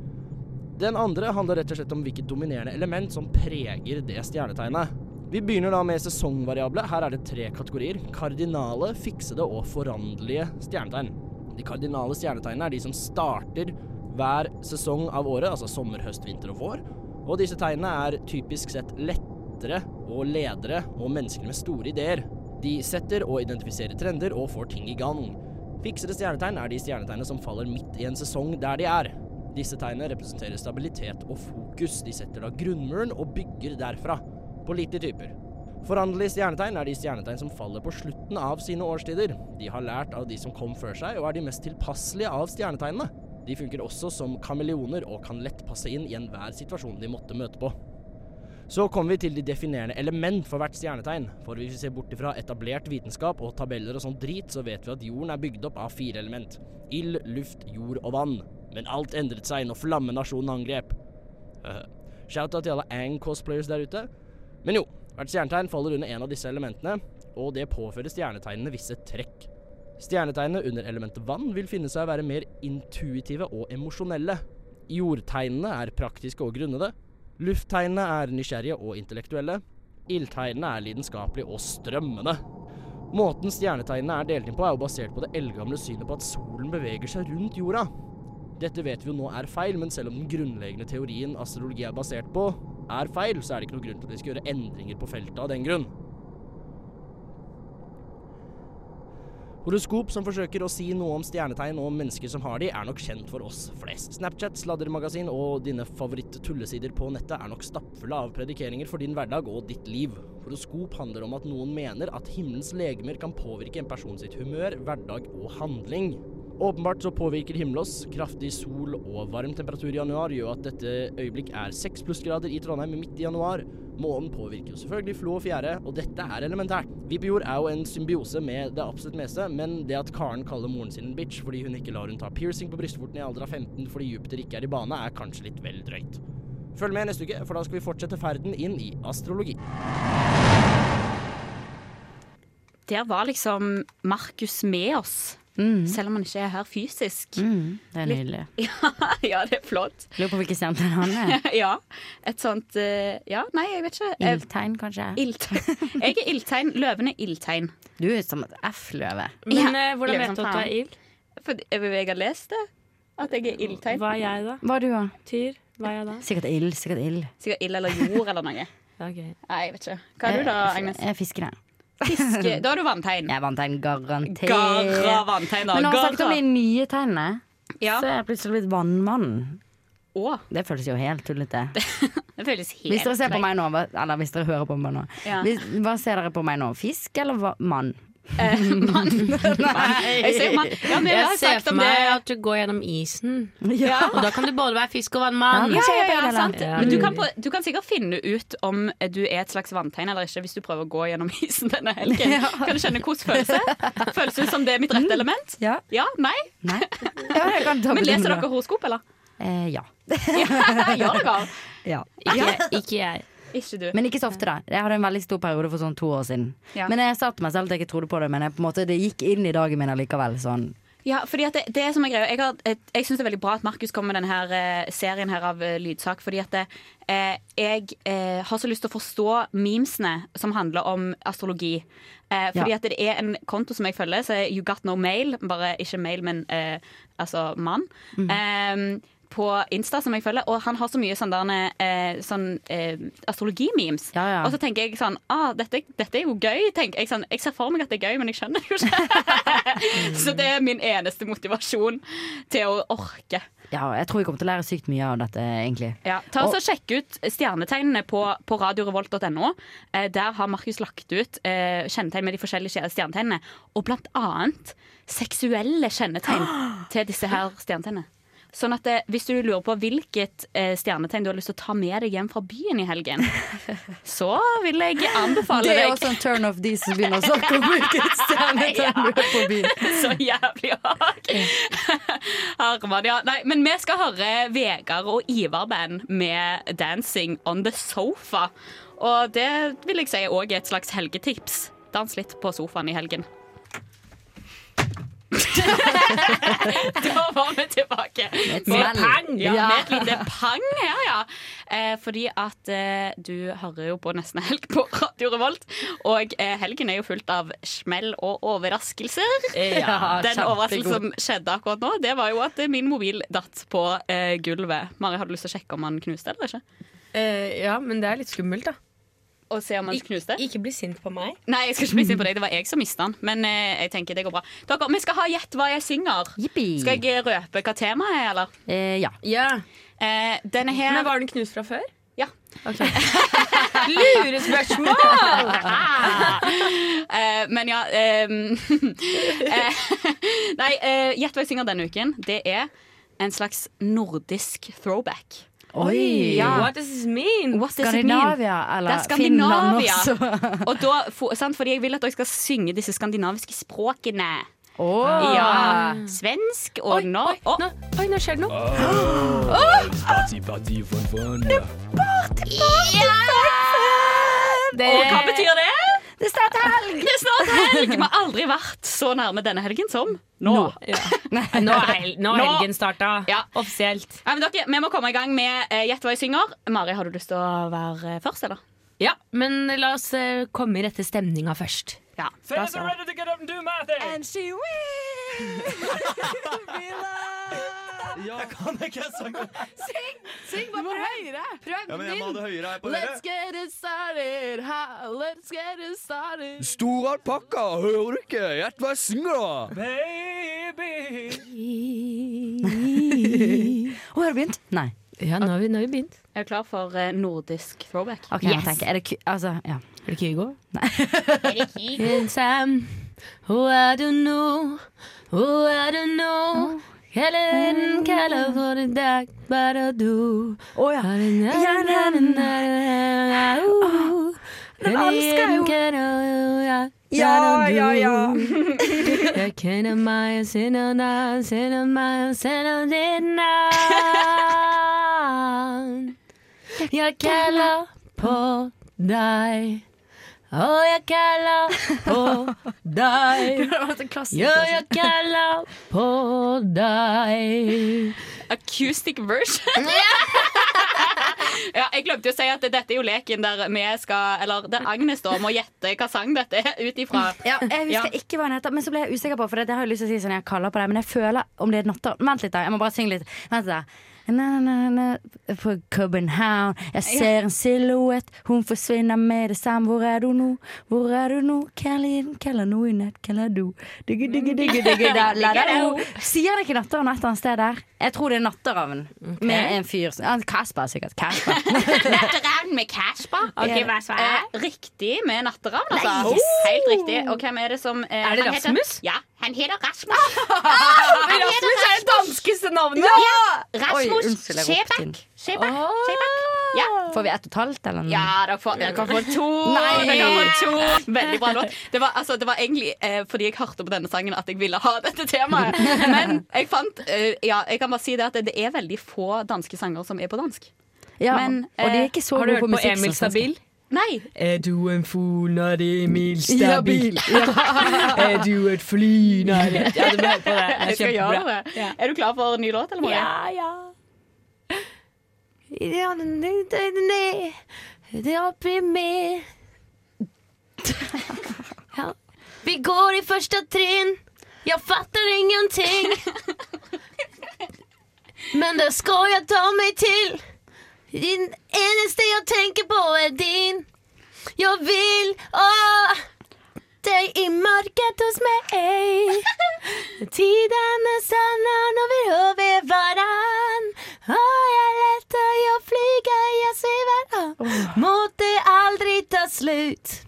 K: Den andre handler rett og slett om hvilket dominerende element som preger det stjernetegnet. Vi begynner da med sesongvariable. Her er det tre kategorier. Kardinale, fiksede og foranderlige stjernetegn. De kardinale stjernetegnene er de som starter hver sesong av året, altså sommer, høst, vinter og vår. Og disse tegnene er typisk sett lettere og ledere og mennesker med store ideer. De setter og identifiserer trender og får ting i gang. Fiksede stjernetegn er de stjernetegnene som faller midt i en sesong der de er. Disse tegnene representerer stabilitet og fokus. De setter da grunnmuren og bygger derfra. Pålitelige typer. Foranderlige stjernetegn er de stjernetegn som faller på slutten av sine årstider. De har lært av de som kom før seg, og er de mest tilpasselige av stjernetegnene. De funker også som kameleoner og kan lett passe inn i enhver situasjon de måtte møte på. Så kommer vi til de definerende element for hvert stjernetegn. For hvis vi ser bort ifra etablert vitenskap og tabeller og sånn drit, så vet vi at jorden er bygd opp av fire element. Ild, luft, jord og vann. Men alt endret seg når flammenasjonen angrep. Eh, Shout-out til alle Ang-cosplayers der ute. Men jo, hvert stjernetegn faller under en av disse elementene, og det påfører stjernetegnene visse trekk. Stjernetegnene under elementet vann vil finne seg å være mer intuitive og emosjonelle. Jordtegnene er praktiske og grunnede. Lufttegnene er nysgjerrige og intellektuelle. Ildtegnene er lidenskapelige og strømmende. Måten stjernetegnene er delt inn på, er jo basert på det eldgamle synet på at solen beveger seg rundt jorda. Dette vet vi jo nå er feil, men selv om den grunnleggende teorien astrologi er basert på, er feil, så er det ikke noen grunn til at vi skal gjøre endringer på feltet av den grunn. Horoskop som forsøker å si noe om stjernetegn og mennesker som har de, er nok kjent for oss flest. Snapchat, sladdermagasin og dine favoritt-tullesider på nettet er nok stappfulle av predikeringer for din hverdag og ditt liv. Horoskop handler om at noen mener at himmelens legemer kan påvirke en person sitt humør, hverdag og handling. Åpenbart så påvirker himmelen oss. Kraftig sol og varm temperatur i januar gjør at dette øyeblikk er seks plussgrader i Trondheim midt i januar. Månen påvirker jo selvfølgelig flo og fjære, og dette er elementært. Vi på jord er jo en symbiose med det absolutt meste, men det at Karen kaller moren sin en bitch fordi hun ikke lar hun ta piercing på brystvorten i alder av 15 fordi Jupiter ikke er i bane, er kanskje litt vel drøyt. Følg med neste uke, for da skal vi fortsette ferden inn i astrologi.
I: Der var liksom Markus med oss.
S: Mm.
I: Selv om han ikke er her fysisk.
S: Det er nydelig.
I: Ja, ja, det er flott.
S: Lurer på hvilket stjernetegn han er.
I: ja. Et sånt eh, Ja, nei, jeg vet ikke. Eh,
S: Ildtegn, kanskje?
I: Ildtegn. Jeg er ildtegn. Løven er ildtegn.
S: Du er som et F-løve.
I: Ja,
N: Men eh, hvordan
I: løven
N: vet du at du
I: faen.
N: er ild?
I: Fordi jeg, eh, jeg har lest det. At jeg er ildtegn.
N: Hva er jeg da?
S: Hva er du, da?
N: Tyr? Hva er jeg da?
S: Sikkert ild. Sikkert ild.
I: Sikkert ild eller jord eller noe. Nei, jeg vet ikke. Hva er du da, Agnes?
S: Jeg er fiskere. eh,
I: Fiske. Da er du vanntegn.
S: Jeg er vanntegn, garantert.
I: Garra vanntegn, da.
S: Men når han snakket om
I: Garra.
S: de nye tegnene,
I: Ja.
S: så er jeg plutselig blitt vannmann.
I: Å.
S: Det føles jo helt tullete.
I: Det føles helt
S: Hvis dere ser på
I: greit.
S: meg nå, hva- eller hvis dere hører på meg nå,
I: Ja.
S: hvis, hva ser dere på meg nå? Fisk eller hva, mann?
I: mann.
S: Nei.
I: Eh, Jeg ser mann. Ja, men jeg har
N: jeg ser
I: sagt om
N: for meg
I: det.
N: at du går gjennom isen.
S: Ja.
N: Og da kan du både være fisk og vannmann.
I: Ja, ja, ja, sant.
N: Ja.
I: Men du kan, på, du kan sikkert finne ut om eh, du er et slags vanntegn eller ikke hvis du prøver å gå gjennom isen denne helgen.
S: Ja.
I: Kan du skjønne hvordan føles det? Føles det som det er mitt rette element?
S: Ja.
I: nei?
S: Nei. Ja, jeg kan ta
I: Men
S: bilder
I: leser
S: nå.
I: dere horoskop, eller?
S: Eh, ja.
I: Gjør dere?
S: ja.
N: Ikke, ikke jeg.
I: Ikke du.
S: Men ikke så ofte, da. Jeg hadde en veldig stor periode for sånn to år siden.
I: Ja.
S: Men jeg sa til meg selv at jeg ikke trodde på det, men jeg, på en måte, det gikk inn i dagen min allikevel. Sånn.
I: Ja, fordi at det, det er som er greia Jeg, har, et- jeg syns det er veldig bra at Markus kommer med denne her, eh, serien her av eh, lydsak. Fordi at det, eh, jeg eh, har så lyst til å forstå memesene som handler om astrologi. Eh, fordi
S: Ja.
I: at det er en konto som jeg følger, så er You Got No Mail. Bare ikke mail, men eh, altså mann. Eh, på Insta, som jeg følger, og han har så mye sånn der, eh, sånn, eh, astrologi-memes. Og så tenker jeg sånn ah, dette, dette er jo gøy. tenker Jeg, sånn, jeg ser for meg at det er gøy, men jeg skjønner det jo ikke. Så det er min eneste motivasjon til å orke.
S: Ja, jeg tror jeg kommer til å lære sykt mye av dette, egentlig.
I: Ja, ta
S: Og-
I: oss og Sjekk ut stjernetegnene på, på radiorevolt.no. Eh, der har Markus lagt ut eh, kjennetegn med de forskjellige skje- stjernetegnene. Og blant annet seksuelle kjennetegn til disse her stjernetegnene. Sånn at eh, Hvis du lurer på hvilket eh, stjernetegn du har lyst til å ta med deg hjem fra byen i helgen, så vil jeg anbefale
S: Det er
I: deg
S: jo også en turn off de som begynner å snakke om hvilket stjernetegn du er på byen.
I: Så jævlig hak. Arman, ja. Nei, men vi skal høre Vegard og Ivar-band med 'Dancing on the Sofa'. Og det vil jeg si òg er et slags helgetips. Dans litt på sofaen i helgen. da var vi tilbake.
N: Med et
I: Med
N: smell.
I: pang. Ja,
N: Ja.
I: med et lite pang her, ja. Eh, fordi at eh, du hører jo på Nesten Helg på Radio Revolt, og eh, helgen er jo fullt av smell og overraskelser.
N: Eh, Ja,
I: Den
N: kjempegod.
I: overraskelsen som skjedde akkurat nå, det var jo at eh, min mobil datt på eh, gulvet. Mari, har du lyst til å sjekke om han knuste eller ikke?
N: Eh, ja, men det er litt skummelt, da.
I: Og se om han knuste?
N: Ikke bli sint på meg.
I: Nei, jeg skal ikke bli sint på deg. Det var jeg som mista den. Men eh, jeg tenker det går bra. Dere, vi skal ha Gjett hva jeg synger. Skal jeg røpe hva temaet er, eller?
S: ja.
I: Eh, denne her
N: Men var den knust fra før?
I: Ja.
N: Lurespørsmål!
I: Ah. Eh, men ja ehm, eh, eh, Nei, eh, gjett hva jeg synger denne uken. Det er en slags nordisk throwback.
T: Oi.
I: Ja.
T: What does this mean?
I: What does it mean?
T: Skandinavia, eller
I: det er Skandinavia.
T: Finland
I: og da, for, sant, fordi jeg vil at dere skal synge disse skandinaviske språkene.
T: Åh.
H: Ah.
I: Ja, Svensk og norsk. Oi,
T: oi, nå skjer det noe.
N: Party, party, fun, fun.
I: Det... Og hva betyr det?
H: Det er snart helg!
I: Det er snart helg! Vi har aldri vært så nærme denne helgen som nå.
T: Nå. Nå er hel- nå er helgen
I: starta, offisielt. Ja, men dere, vi må komme i gang med eh, Gjett hva jeg synger. Mari, har du lyst til å være eh, først, eller?
T: Ja, men la oss eh, komme i rette stemninga først.
I: Ja.
T: Da så.
N: ready to get up and do my thing. And she
B: Jeg kan ikke sange.
S: Syng! Syng bare prøv. høyere. Prøv
B: Ja, men jeg må ha det høyere her på
S: Let's get it started, ha. Let's get it started.
N: Stor alpakka, hører du ikke? Gjett hva jeg synger, da! Baby
H: Å, har du begynt? Nei.
T: Ja, nå har vi, nå har vi begynt.
I: Er du klar for eh, nordisk throwback?
H: Ok, jeg tenker, er det ku... Altså, ja.
T: Er det Kygo?
I: Kygo?
T: Time. Oh, I don't know. Oh, I don't know. Kjelleren kaller for i dag, bare du.
H: Å ja.
T: Ja, na, na, na, na, na, oh.
N: Den elsker jeg jo.
T: jo.
N: Ja, ja, ja.
T: Jeg kjenner meg, jeg kjenner deg, jeg kjenner meg, jeg kjenner ditt navn. Jeg kaller på deg. Og jeg kaller på deg.
S: Det hadde vært en klassiker.
T: Ja, jeg kaller på deg.
I: Acoustic version. ja, jeg glemte jo å si at dette er jo leken der vi skal Eller der Agnes da må gjette hva sang dette er ut ifra.
H: Ja, jeg husker ikke hva den heter, men så ble jeg usikker på For det, det har jeg lyst til å si sånn, jeg kaller på deg, men jeg føler om det er natta Vent litt, da. Jeg må bare synge litt. Vent litt da. Na, na, na, na, på København. Jeg ser en silhuett, hun forsvinner med det samme. Hvor er du nå? Hvor er du nå? Kjellin, kjeller nå i nett, kjeller du. Digge, digge,
I: Mm.
H: digge, digge, da, la, da, do. Sier det ikke Natteravn et eller annet sted der? Jeg tror det er Natteravn med en fyr som ja, Kasper, sikkert. Kasper.
I: Natteravn med Casper.
H: Ok, hva så er
I: riktig med Natteravn, altså.
H: Nei, yes.
I: Helt riktig. Og hvem er det som eh,
T: Er det
I: han heter-
T: Rasmus?
I: Ja, Ah! han heter Rasmus.
T: men Rasmus er det danskeste navnet.
I: Ja!
H: Oi,
I: Rasmus
H: unnskyld, jeg ropte inn.
I: Skjebæk. Skjebæk. Skjebæk. Ja.
H: Får vi ett og et halvt, eller?
I: Ja, dere får, dere kan få to.
H: Nei.
I: Dere kan få to. Veldig bra låt. Det var, altså, det var egentlig eh, fordi jeg hørte på denne sangen at jeg ville ha dette temaet. Men jeg fant eh, Ja, jeg kan bare si det at det er veldig få danske sanger som er på dansk.
H: Ja,
I: Men,
H: og de er
I: eh,
H: ikke så
I: har du
H: gode
I: hørt
H: på
I: på
H: musikk.
I: Emil Stabil? Nei.
N: Er du en fol når Emil
T: Stabil?
N: er du et fly når
T: Ja, du må høre på det. Det er
I: Jeg skal
T: kjempebra.
I: gjøre det. Er du klar for ny låt, eller, Marie?
T: Ja, ja. Ja, den er- den er ned. Det er oppi med. Ja. Vi går i første trinn. Jeg fatter ingenting. Men det skal jeg ta meg til. Din eneste jeg tenker på, er din. Jeg vil å deg i mørket hos meg. Tidene sanner når vi over varann. Og jeg letter, jeg flyger, jeg sviver. Og måtte aldri ta slutt.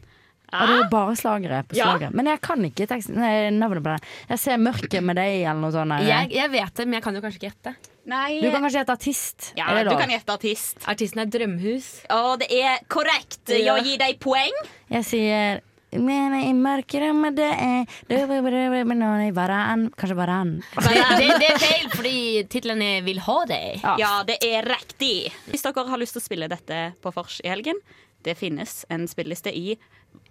H: Og det er bare slagere på
T: Ja.
H: slagere. Men jeg kan ikke teksten, nei, navnet på den. Jeg ser mørket med deg eller noe sånt. eller?
T: Jeg, jeg vet det, men jeg kan jo kanskje ikke gjette.
I: Nei.
H: Du kan kanskje hete artist?
I: ja,
H: er
I: du
H: det lov?
I: kan gjette artist.
T: Artisten er Drømhus.
I: Å, det er korrekt. Jeg gir deg poeng.
H: Jeg sier men i mørket med deg du- du- du- du- men nå i varann. Kanskje varann.
T: det, det er feil, fordi tittelen er 'Vil ha deg'.
I: Ja. det er riktig. Hvis dere har lyst til å spille dette på vors i helgen, det finnes en spilleliste i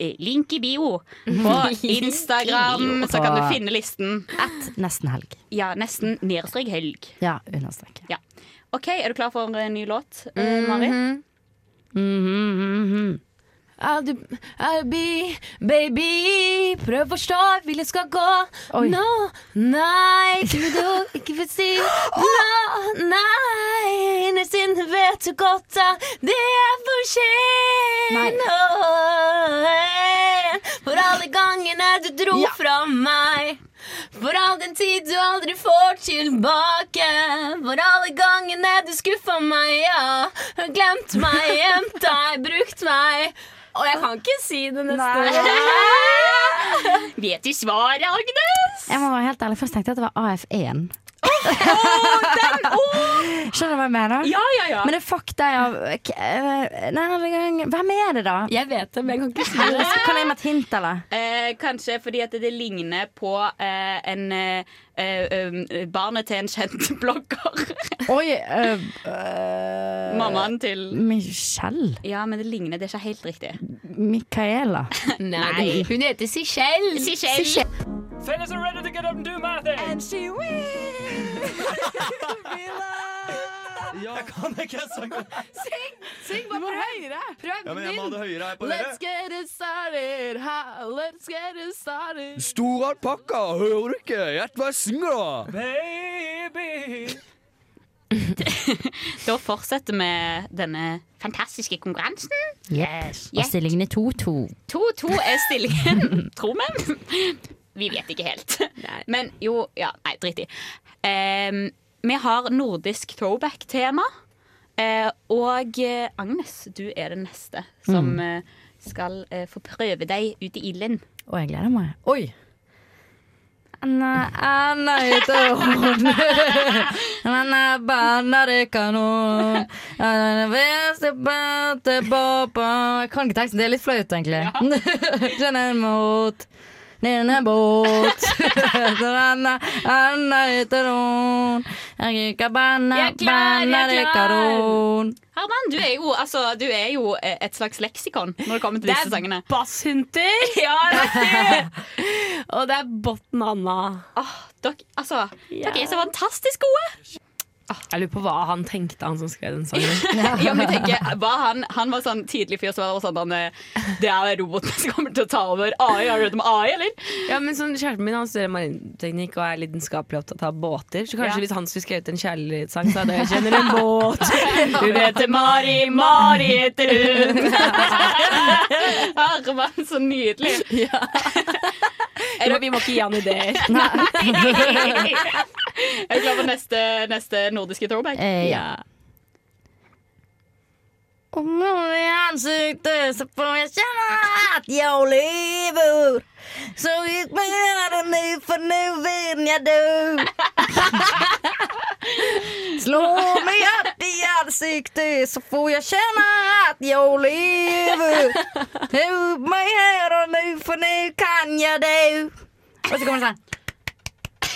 I: i link i bio på Instagram. Så kan du finne listen.
H: Ett nesten helg.
I: Ja, nesten nedstrek helg.
H: Ja, understrek.
I: Ja. OK, er du klar for en ny låt, eh, Mari?
T: I'll do, Mhm, I'll be, baby Prøv å forstå vil jeg skal gå
N: Oi.
T: No, nei Kunne du ikke få si No, nei Innerst inne vet du godt at Det er for sent Åh, For alle gangene du dro fra meg for all den tid du aldri får tilbake. For alle gangene du skuffa meg, ja. Har glemt meg, gjemt deg, brukt meg. Og jeg kan ikke si det neste.
I: Vet du svaret, Agnes?
H: E Jeg må være helt ærlig, Først tenkte jeg at det var AF1. Skjønner du hva jeg mener?
I: Ja, ja, ja.
H: Men det er fuck deg av ok, eh, Nei, men gang- Hvem er det, da?
I: Jeg vet det, men jeg kan ikke si
H: Eller så Kan jeg gi meg et hint, eller?
I: Eh, kanskje fordi at det ligner på eh, en eh, eh, eh, Barnet til en kjent blogger.
H: Oi eh, eh,
I: Mammaen til
H: Michelle?
I: Ja, men det ligner. Det er ikke helt riktig.
H: Micaela?
I: Nei.
S: Hun heter Sichelle.
I: Sichelle.
B: Fellas are ready to get up and do math. And she
F: Jeg kan ikke sange.
S: Syng bare prøv. høyere. Prøv
F: Ja, men jeg må ha det høyere her på
S: Let's
F: øret.
S: get it started. Ha, let's get it started.
U: Stor alpakka, hører du ikke? Gjett hva jeg synger, da!
B: Baby.
I: Da fortsetter vi denne fantastiske konkurransen.
E: Yes.
I: Gjett.
E: Og stillingen er 2-2.
I: 2-2 er stillingen, tror vi. Vi vet ikke helt. Men jo, ja, nei, drit i. Em, vi har nordisk throwback-tema. Eh, og eh, Agnes, du er den neste som
E: Mm.
I: eh, skal eh, få prøve deg ut i ilden.
E: Og jeg gleder meg. Oi!
H: Anna, Anna heter hun. Anna banner i kanon. Anna veste bante baba. Jeg kan ikke teksten. Det er litt flaut, egentlig. Kjenner mot Nede båt. Anna, Anna heter hun. Jeg liker banna,
I: Jeg er klar, jeg er
H: banna i
I: klar.
H: kanon.
I: Herman, du er jo, altså, du er jo eh, et slags leksikon når det kommer til disse sangene.
T: basshunter.
I: Ja,
T: Og det er Botten Anna.
I: dere, altså, dere er så fantastisk gode!
T: Jeg lurer på hva han tenkte, han som skrev den sangen.
I: ja, men jeg tenker, var han, han var sånn tidlig fyr som var sånn han, eh, Det er roboten som kommer til å ta over AI. Har du hørt om AI, eller?
T: Ja, men som Kjæresten min han studerer marinteknikk og er lidenskapelig opptatt av båter. Så kanskje
I: Ja.
T: hvis han skulle skrevet en kjærlighetssang, så hadde jeg kjenner en båt.
I: Hun heter Mari, Mari heter hun. Herman, så nydelig.
T: Vi må ikke gi han ideer.
I: Er du klar for neste, neste nordiske throwback?
T: Eh, ja.
H: Og når i ansiktet så får jeg kjenne at jeg lever. Så ut med denne nå, for nå vil jeg dø. Slå meg hardt i ansiktet, så får jeg kjenne at jeg lever. Ut meg her og nå, for nå kan jeg dø. Og så kommer det sånn.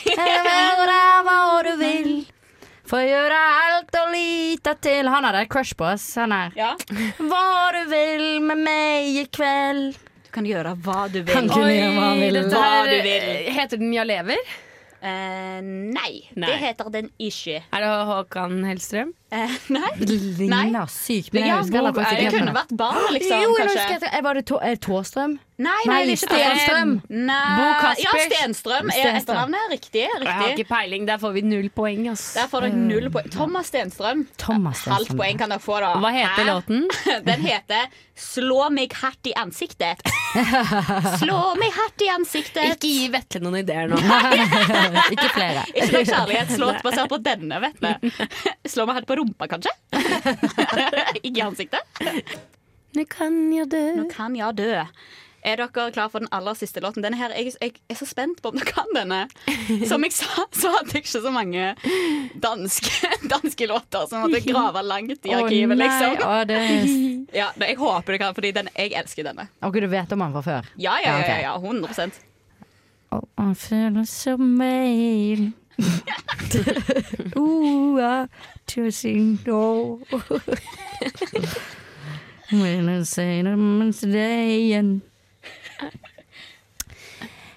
H: Jeg vil være hva du vil. Får gjøre alt og lite til. Han hadde et crush på oss. Han her. Hva du vil med meg i kveld.
I: Du kan gjøre hva du
H: Han kunne gjøre hva han ville.
T: dette her,
I: Hva du vil.
T: Heter den Jeg lever?
I: Eh, nei,
T: Nei.
I: det heter den ikke. Eh,
T: Er det Håkan Hellstrøm?
I: nei.
H: Ligner sykt
T: Men
H: mye.
T: ja,
H: Jeg husker
T: hvor
H: heller faktisk
T: er
H: ikke
T: det?
H: helt
T: Kunne
H: henne.
T: vært barnet, liksom,
H: Jo, jeg
T: kanskje.
H: husker at- jeg- var det Tå- er det Tåstrøm?
I: Nei,
H: Nei,
I: nei, det er ikke
H: Stenstrøm.
I: Nei.
H: Bo Kaspers.
I: Ja, Stenstrøm er
H: Stenstrøm.
I: etternavnet. Riktig.
T: Jeg har
I: riktig.
T: ikke peiling. Der får vi null poeng. Ass.
I: Der får dere null poeng. Thomas Stenstrøm.
H: Thomas
I: Halvt poeng kan dere få, da.
T: Hva heter låten?
I: Den heter 'Slå meg hardt i ansiktet'. Slå meg hardt i ansiktet.
T: Ikke gi Vetle noen ideer nå.
H: ikke flere.
I: Ikke noe kjærlighetslåt basert på denne, vet du. Slå meg hardt på rumpa, kanskje? ikke i ansiktet.
T: Nå kan jeg dø.
I: Nå kan jeg dø. Er dere klar for den aller siste låten? Denne her, jeg, jeg er så spent på om dere kan denne. Som jeg sa, så hadde jeg ikke så mange danske, danske låter, så jeg måtte grave langt i
H: Å,
I: arkivet,
H: nei,
I: liksom.
H: å, det-
I: Ja, nei, jeg håper dere kan, fordi den, jeg elsker denne.
H: Ok, du vet om han fra før?
I: Ja, ja, ja,
H: ok.
I: ja, 100
H: Og han føler som mail. Ua, tusen nå. When I say the man's day and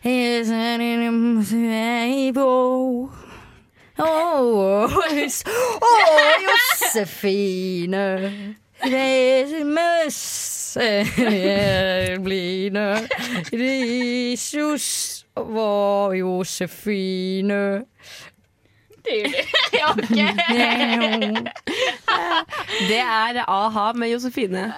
H: He's an in able. Oh, it's- oh, Josefine. Resmøsebline. Jesus var Josefine.
I: Ja, OK.
T: Det er a-ha med Josefine.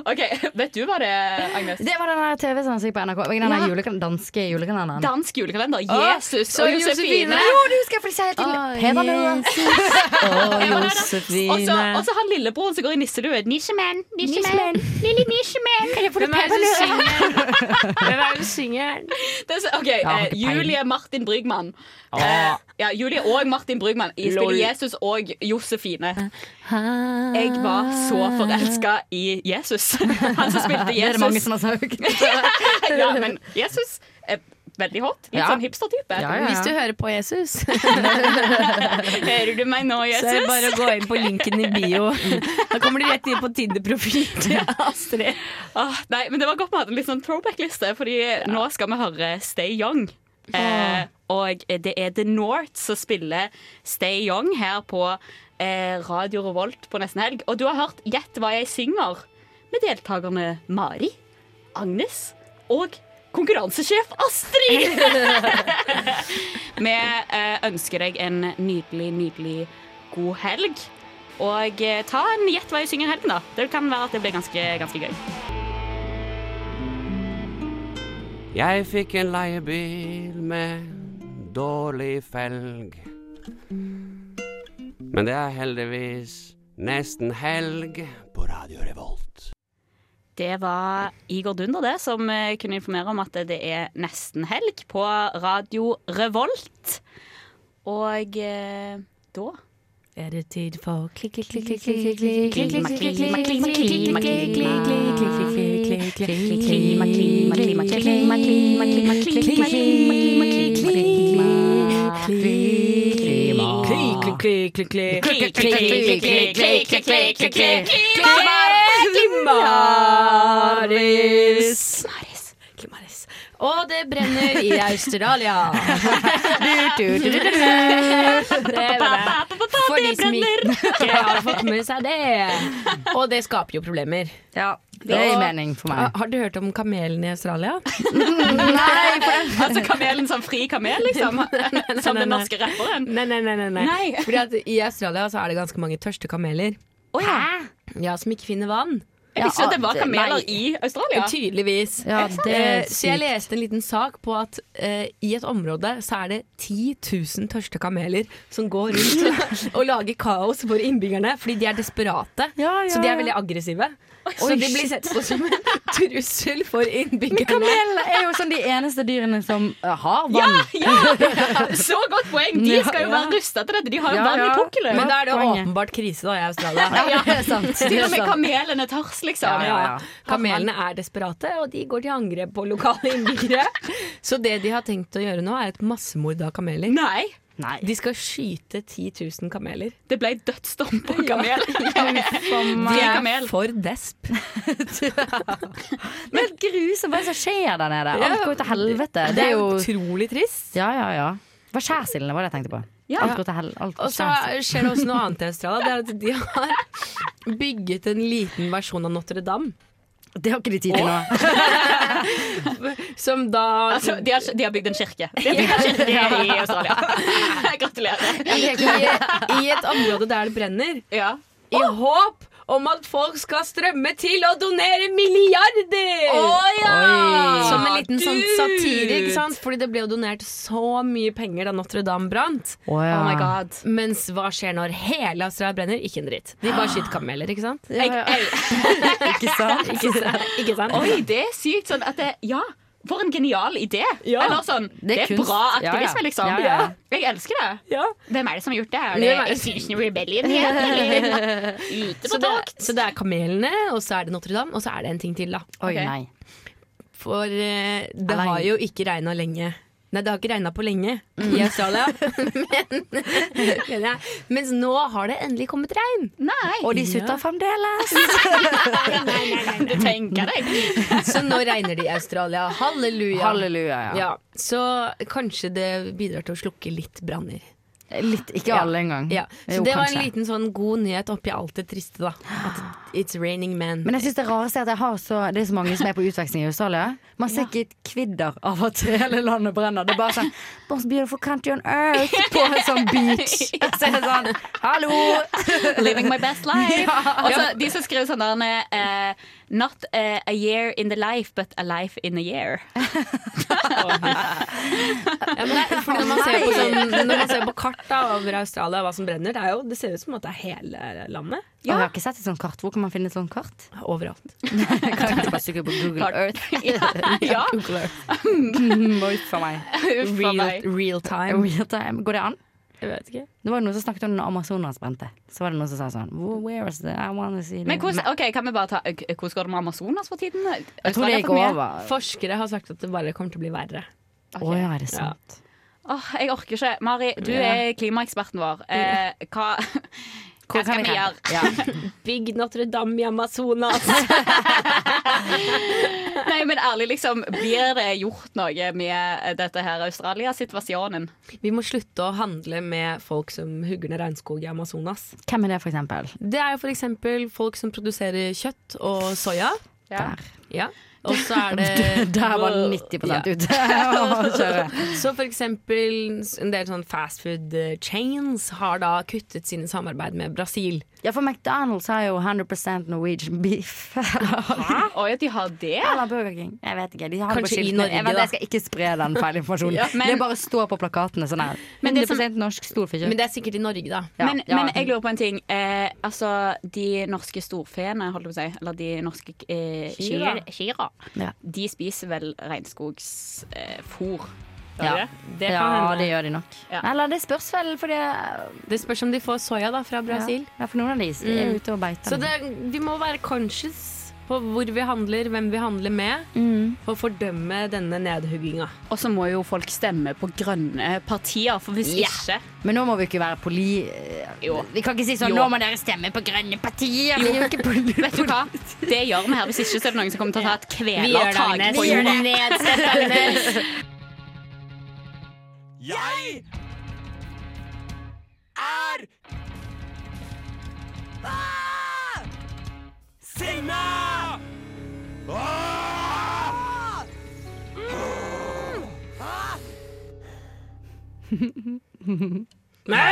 I: Og Ok, Vet du hva det er, Agnes?
H: Det var den der TV-sangen som gikk på NRK. Den der
I: Ja.
H: juleka- danske julekalenderen.
I: Dansk julekalender.
H: Å,
I: Jesus
H: så
I: og Josefine.
H: Jo, det husker jeg, for de sier helt til Pevalua.
I: Ja, men det er det.
H: Josefine.
I: Og så- Og så han lillebroren som går i nisselue. Nissemann, nissemann, lille nissemann. Kan jeg få
H: Hvem er det som
I: Hvem er det som synger? OK,
H: Ja,
I: eh,
H: det er peiling. Ah.
I: Julie Martin Brygman.
H: Ja.
I: Eh, ja, Julie og Martin Brygman i
H: Lol.
I: spiller Jesus og Josefine. Jeg var så forelska i Jesus. Han som spilte Jesus.
H: Det er det mange som har sagt.
I: ja, men Jesus er veldig hot. Litt
H: Ja.
I: sånn hipster-type.
T: Hvis du hører på Jesus,
I: Hører du meg nå,
T: så er det
I: Jesus?
T: bare å gå inn på linken i bio. Da kommer de rett inn på Tinder-profilen til Astrid.
I: Åh, Ah, nei, men det var godt vi hadde en litt sånn throwback-liste, Fordi nå skal vi høre Stay Young. Eh, og det er The North som spiller Stay Young her på eh, Radio Revolt på nesten helg. Og du har hørt Gjett hva jeg synger med deltakerne Mari, Agnes og konkurransesjef Astrid. vi eh, ønsker deg en nydelig, nydelig god helg. Og eh, ta en Gjett hva jeg synger-helgen, da. Det kan være at det blir ganske, ganske gøy.
A: Jeg fikk en leiebil med dårlig felg. Men det er heldigvis nesten helg på Radio Revolt.
I: Det var Igor Dunder det, som eh, kunne informere om at det er nesten helg på Radio Revolt. Og eh, da
T: Er det tid for klikk, klikk, klikk, klikk, klikk, klikk, klikk,
I: Klima, klima,
T: klikk,
I: klima,
T: klikk,
I: klima, klima, klima, klima,
T: klikk, klikk,
I: klima, klima, klima, klima, klima, klima, klima, klima.
T: klikk, Klimaris. Klimaris. Og det brenner i Australia. Du, du, du, du, du. Det er bra. For de som ikke har fått med seg det.
N: Og det skaper jo problemer.
T: Ja,
N: det gir
T: mening for meg.
N: Har du hørt om kamelen i Australia?
I: Nei, altså kamelen som fri kamel, liksom. Som
N: Nei, nei,
I: den
N: nei.
I: norske rapperen.
N: Nei, nei, nei. nei, nei.
I: Nei.
N: Fordi at I Australia så er det ganske mange tørste kameler. Ja, Som ikke finner vann.
I: Jeg visste jo at det var kameler i Australia.
N: Tydeligvis.
I: Ja, det er
N: Eh, så jeg
I: sykt.
N: leste en liten sak på at eh, i et område så er det 10 000 tørste kameler som går rundt og lager kaos for innbyggerne fordi de er desperate. Så de er
T: ja.
N: veldig aggressive.
H: Oi,
N: så de blir
H: shit.
N: sett på som en trussel for innbyggerne.
H: Men kameler er jo sånn de eneste dyrene som eh, har vann.
I: Ja, ja! Så godt poeng! De skal jo være rusta til dette. De har jo vann i pukkelen.
N: Men da er det jo åpenbart krise da i Australia.
I: Ja,
N: Det er sant.
I: Til og
N: Det er
I: med
N: sant.
I: kamelene tørs, liksom.
N: Ja, ja, ja. Kamelene er desperate, og de går til angrep på lokale innbyggere. Så det de har tenkt å gjøre nå, er et massemord av kameler.
I: Nei.
N: De skal skyte 10 000 kameler.
I: Det ble dødsdom på kamel.
N: De
I: Fri
N: er
I: kamel.
N: for desp.
H: Men grusomt, hva er det som skjer der nede?
N: Ja.
H: Alt går jo til helvete.
N: Det er utrolig trist.
H: Ja, ja, ja. Det var skjærsildene var det jeg tenkte på.
N: Ja.
H: Alt går til hel... Alt går
N: Og så
H: skjærsilden.
N: skjer det også noe annet i Australia. Det er at de har bygget en liten versjon av Notre-Dame.
H: Det har ikke de tid til nå.
N: Som da
I: Altså, de, har, de har bygd en kirke. De har bygd en kirke i Australia. Gratulerer.
N: I, i et område der det brenner. I håp om at folk skal strømme til og donere milliarder!
I: Å, ja! Oi.
N: Som en liten sånn
I: Dude!
N: satire, ikke sant? Fordi det ble jo donert så mye penger da Notre-Dame brant.
H: Å, ja. Oh my
I: God.
N: Mens hva skjer når hele Australia brenner? Ikke en dritt. De bare skyter kameler, ikke sant?
H: ikke sant?
N: ikke sant? Ikke sant?
I: Oi, det er sykt sånn at det, Ja, for en genial idé.
N: Ja.
I: Eller sånn
N: Det
I: Det
N: er
I: er,
N: kunst.
I: bra
N: Ja, ja.
I: aktivisme, liksom.
N: Ja, ja, ja.
I: Jeg elsker det. Hvem er det som har gjort det? Er
N: Hvem er
I: det
N: det som-
I: Extinction Rebellion igjen? Eller ute
N: så,
I: på
N: det,
I: tokt?
N: så det er kamelene, og så er det Notre-Dame, og så er det en ting til, da.
H: Oi, nei.
N: For eh, det
H: Alene.
N: har jo ikke regna lenge. Nei, det har ikke regna på lenge
H: Mm.
N: i Australia. Men, men jeg, mens nå har det endelig kommet regn.
H: Og de sutter fremdeles.
N: nei,
I: nei, nei, du tenker deg.
N: Så nå regner det i Australia. Halleluja.
H: Halleluja, ja.
N: Så kanskje det bidrar til å slukke litt branner.
H: Litt, ikke alle engang.
N: Ja. Så
H: Mm. Jo,
N: det var en
H: kanskje.
N: liten sånn god nyhet oppi alt det triste, da. At It's raining men.
H: Men jeg synes det rareste er at jeg har så, det er så mange som er på utveksling i Australia. Man ser ikke et kvidder av at hele landet brenner. Det er bare sånn Most beautiful country on earth på en sånn beach. Så er det sånn Hallo!
I: Living my best life.
H: Ja.
I: Og så de som skriver sånn der eh, Not eh, a year in the life, but a life in a year.
N: Ja, men det, er- fordi når, man ser på sånn, når man ser på kart da, over Australia hva som brenner, det, er jo, det ser ut som at det er hele landet.
H: Og jeg har ikke sett et sånt kart. Hvor kan man finne et sånt kart?
N: Overalt.
H: kan jeg bare søke på Google
N: Kart.
H: Earth?
N: Ja.
H: Google Earth. Mm, Uff a meg.
N: Uff a meg.
H: real time. Real time. Går det an?
N: Jeg vet ikke.
H: Det var jo noen som snakket om når Amazonas brente. Så var det noen som sa sånn "Wh- Where is the I wanna see the-"
I: Men hvordan,
H: Nei.
I: ok, kan vi bare ta eh, hvordan går det med Amazonas for tiden?
H: Jeg tror det
I: Australia får mye.
H: gikk
N: Ah.
H: over.
N: Forskere har sagt at det bare kommer til å bli verre.
H: Å ja, er det sant?
I: Åh, jeg orker ikke. Mari, du
N: Ja.
I: er klimaeksperten vår. Eh, hva, hva
N: kan
I: skal
N: vi
I: vi gjøre?
N: Bygg Notre-Dame i Amazonas!
I: Nei, men ærlig, liksom, blir det gjort noe med dette her Australia-situasjonen?
N: Vi må slutte å handle med folk som hugger ned regnskog i Amazonas.
H: Hvem er det, for eksempel?
N: Det er jo for eksempel folk som produserer kjøtt og soya.
H: Ja. Der.
N: Ja. Og så er det
H: Der var 90% ute å kjøre.
N: Så for eksempel en del sånn fast food chains har da kuttet sine samarbeid med Brasil.
H: Ja, for McDonald's har jo 100 Norwegian beef.
I: Hæ? Oi, de har det?
H: Eller Burger King. Jeg vet ikke. De har det på
I: Kanskje i
H: skiltene.
I: Norge,
H: jeg, vet,
I: da.
H: jeg skal ikke spre den feilinformasjonen.
I: Ja, men-
H: det bare står på plakatene sånn her.
I: Men det som-
H: 100 norsk storfekjøtt.
I: Men det
N: er sikkert i Norge, da.
I: men, men jeg lurer på en ting. Eh, altså, de norske storfeene, holdt jeg på å si, eller de norske eh,
N: Kyrne.
I: kyr- kyrne,
H: Ja.
I: de spiser vel regnskogsfôr. Eh, fôr.
N: Ja.
I: Gjør de
N: Det kan
H: ja,
N: hende.
H: det gjør de nok.
I: Ja.
H: Eller det spørs vel, for det
N: Det spørs om de får soya da fra Brasil.
H: Ja, for noen av de er
N: Mm.
H: ute og beiter.
N: Så det, vi må være conscious på hvor vi handler, hvem vi handler med,
H: Mm.
N: for å fordømme denne nedhugginga.
I: Og så må jo folk stemme på grønne partier, for hvis
H: Ja.
I: ikke
H: Men nå må vi ikke være poli...
I: Jo.
H: Vi kan ikke si sånn
I: Jo.
H: Nå må dere stemme på grønne partier! Vi
I: Jo.
H: er jo ikke poli...
I: Vet du hva? Det gjør vi her. Hvis ikke så er det noen som kommer til å ta et
H: Vi gjør
I: kvelertak
H: det, Agnes.
I: på
H: Vi gjør det. Sett deg
I: jorda.
H: ned.
B: Jeg er Ah! Sinna! Ah! Mm! Ah!
N: Nei,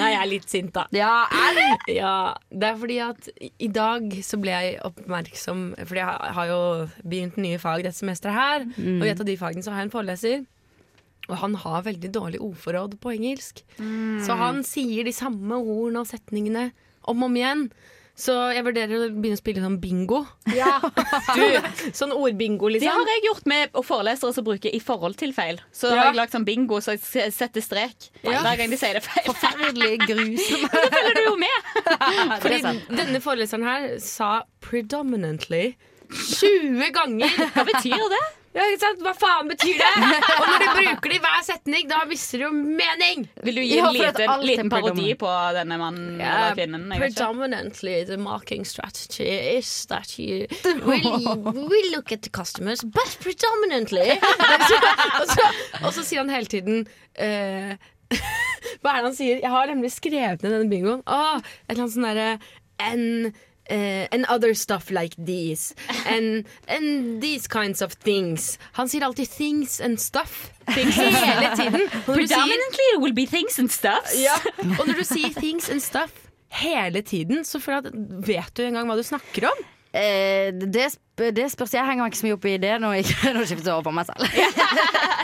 N: jeg er litt sint, da.
H: Ja, er
N: det? Ja, det er fordi at i- i dag så ble jeg oppmerksom Fordi jeg har har jo begynt nye fag dette semesteret her,
H: Mm.
N: og i et av de fagene så har jeg en foreleser. Og han har veldig dårlig ordforråd på engelsk.
I: Mm.
N: Så han sier de samme ordene og setningene om og om igjen. Så jeg vurderer å begynne å spille sånn bingo. Du, sånn ordbingo,
I: Det
N: liksom.
I: har jeg gjort med forelesere som bruker 'i forhold til feil'. Så
N: Ja.
I: har jeg lagd sånn bingo så jeg s- setter strek
N: Ja.
I: hver gang de sier det feil.
H: Forferdelig grusomt.
I: Da følger du jo med.
N: Fordi denne foreleseren her sa 'predominantly' 20 ganger.
I: Hva betyr det?
N: Ja, ikke sant? Hva faen betyr det? Og når du bruker det i hver setning, da mister det jo mening.
I: Vil du gi en liten, liten parodi på denne mannen eller kvinnen? Jeg vet ikke.
N: predominantly the marketing strategy is that you will, will look at the customers, but predominantly og, så, og, så, og så sier han hele tiden eh, Hva er det han sier? Jeg har nemlig skrevet ned denne bingoen. Åh, et eller annet sånn derre And eh, and other stuff like these. And, and these kinds of things. Han sier alltid 'things and stuff' hele tiden. Og når du sier-
I: Predominantly it will be things and stuffs.
N: ja. Og når du sier things and stuff hele tiden, så føler jeg at vet du engang hva du snakker om?
H: Eh, det, sp det spørs. Jeg henger meg ikke så mye opp i det når jeg nå skifter jeg over på meg selv.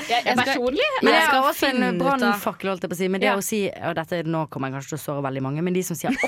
I: Jeg- Personlig?
H: Men jeg
I: Jeg skal
H: har også
I: finne
H: en
I: ut av-
H: brannfakkel, holdt jeg på å si. Men det
I: Ja.
H: å si og dette, Nå kommer jeg kanskje til å såre veldig mange, men de som sier også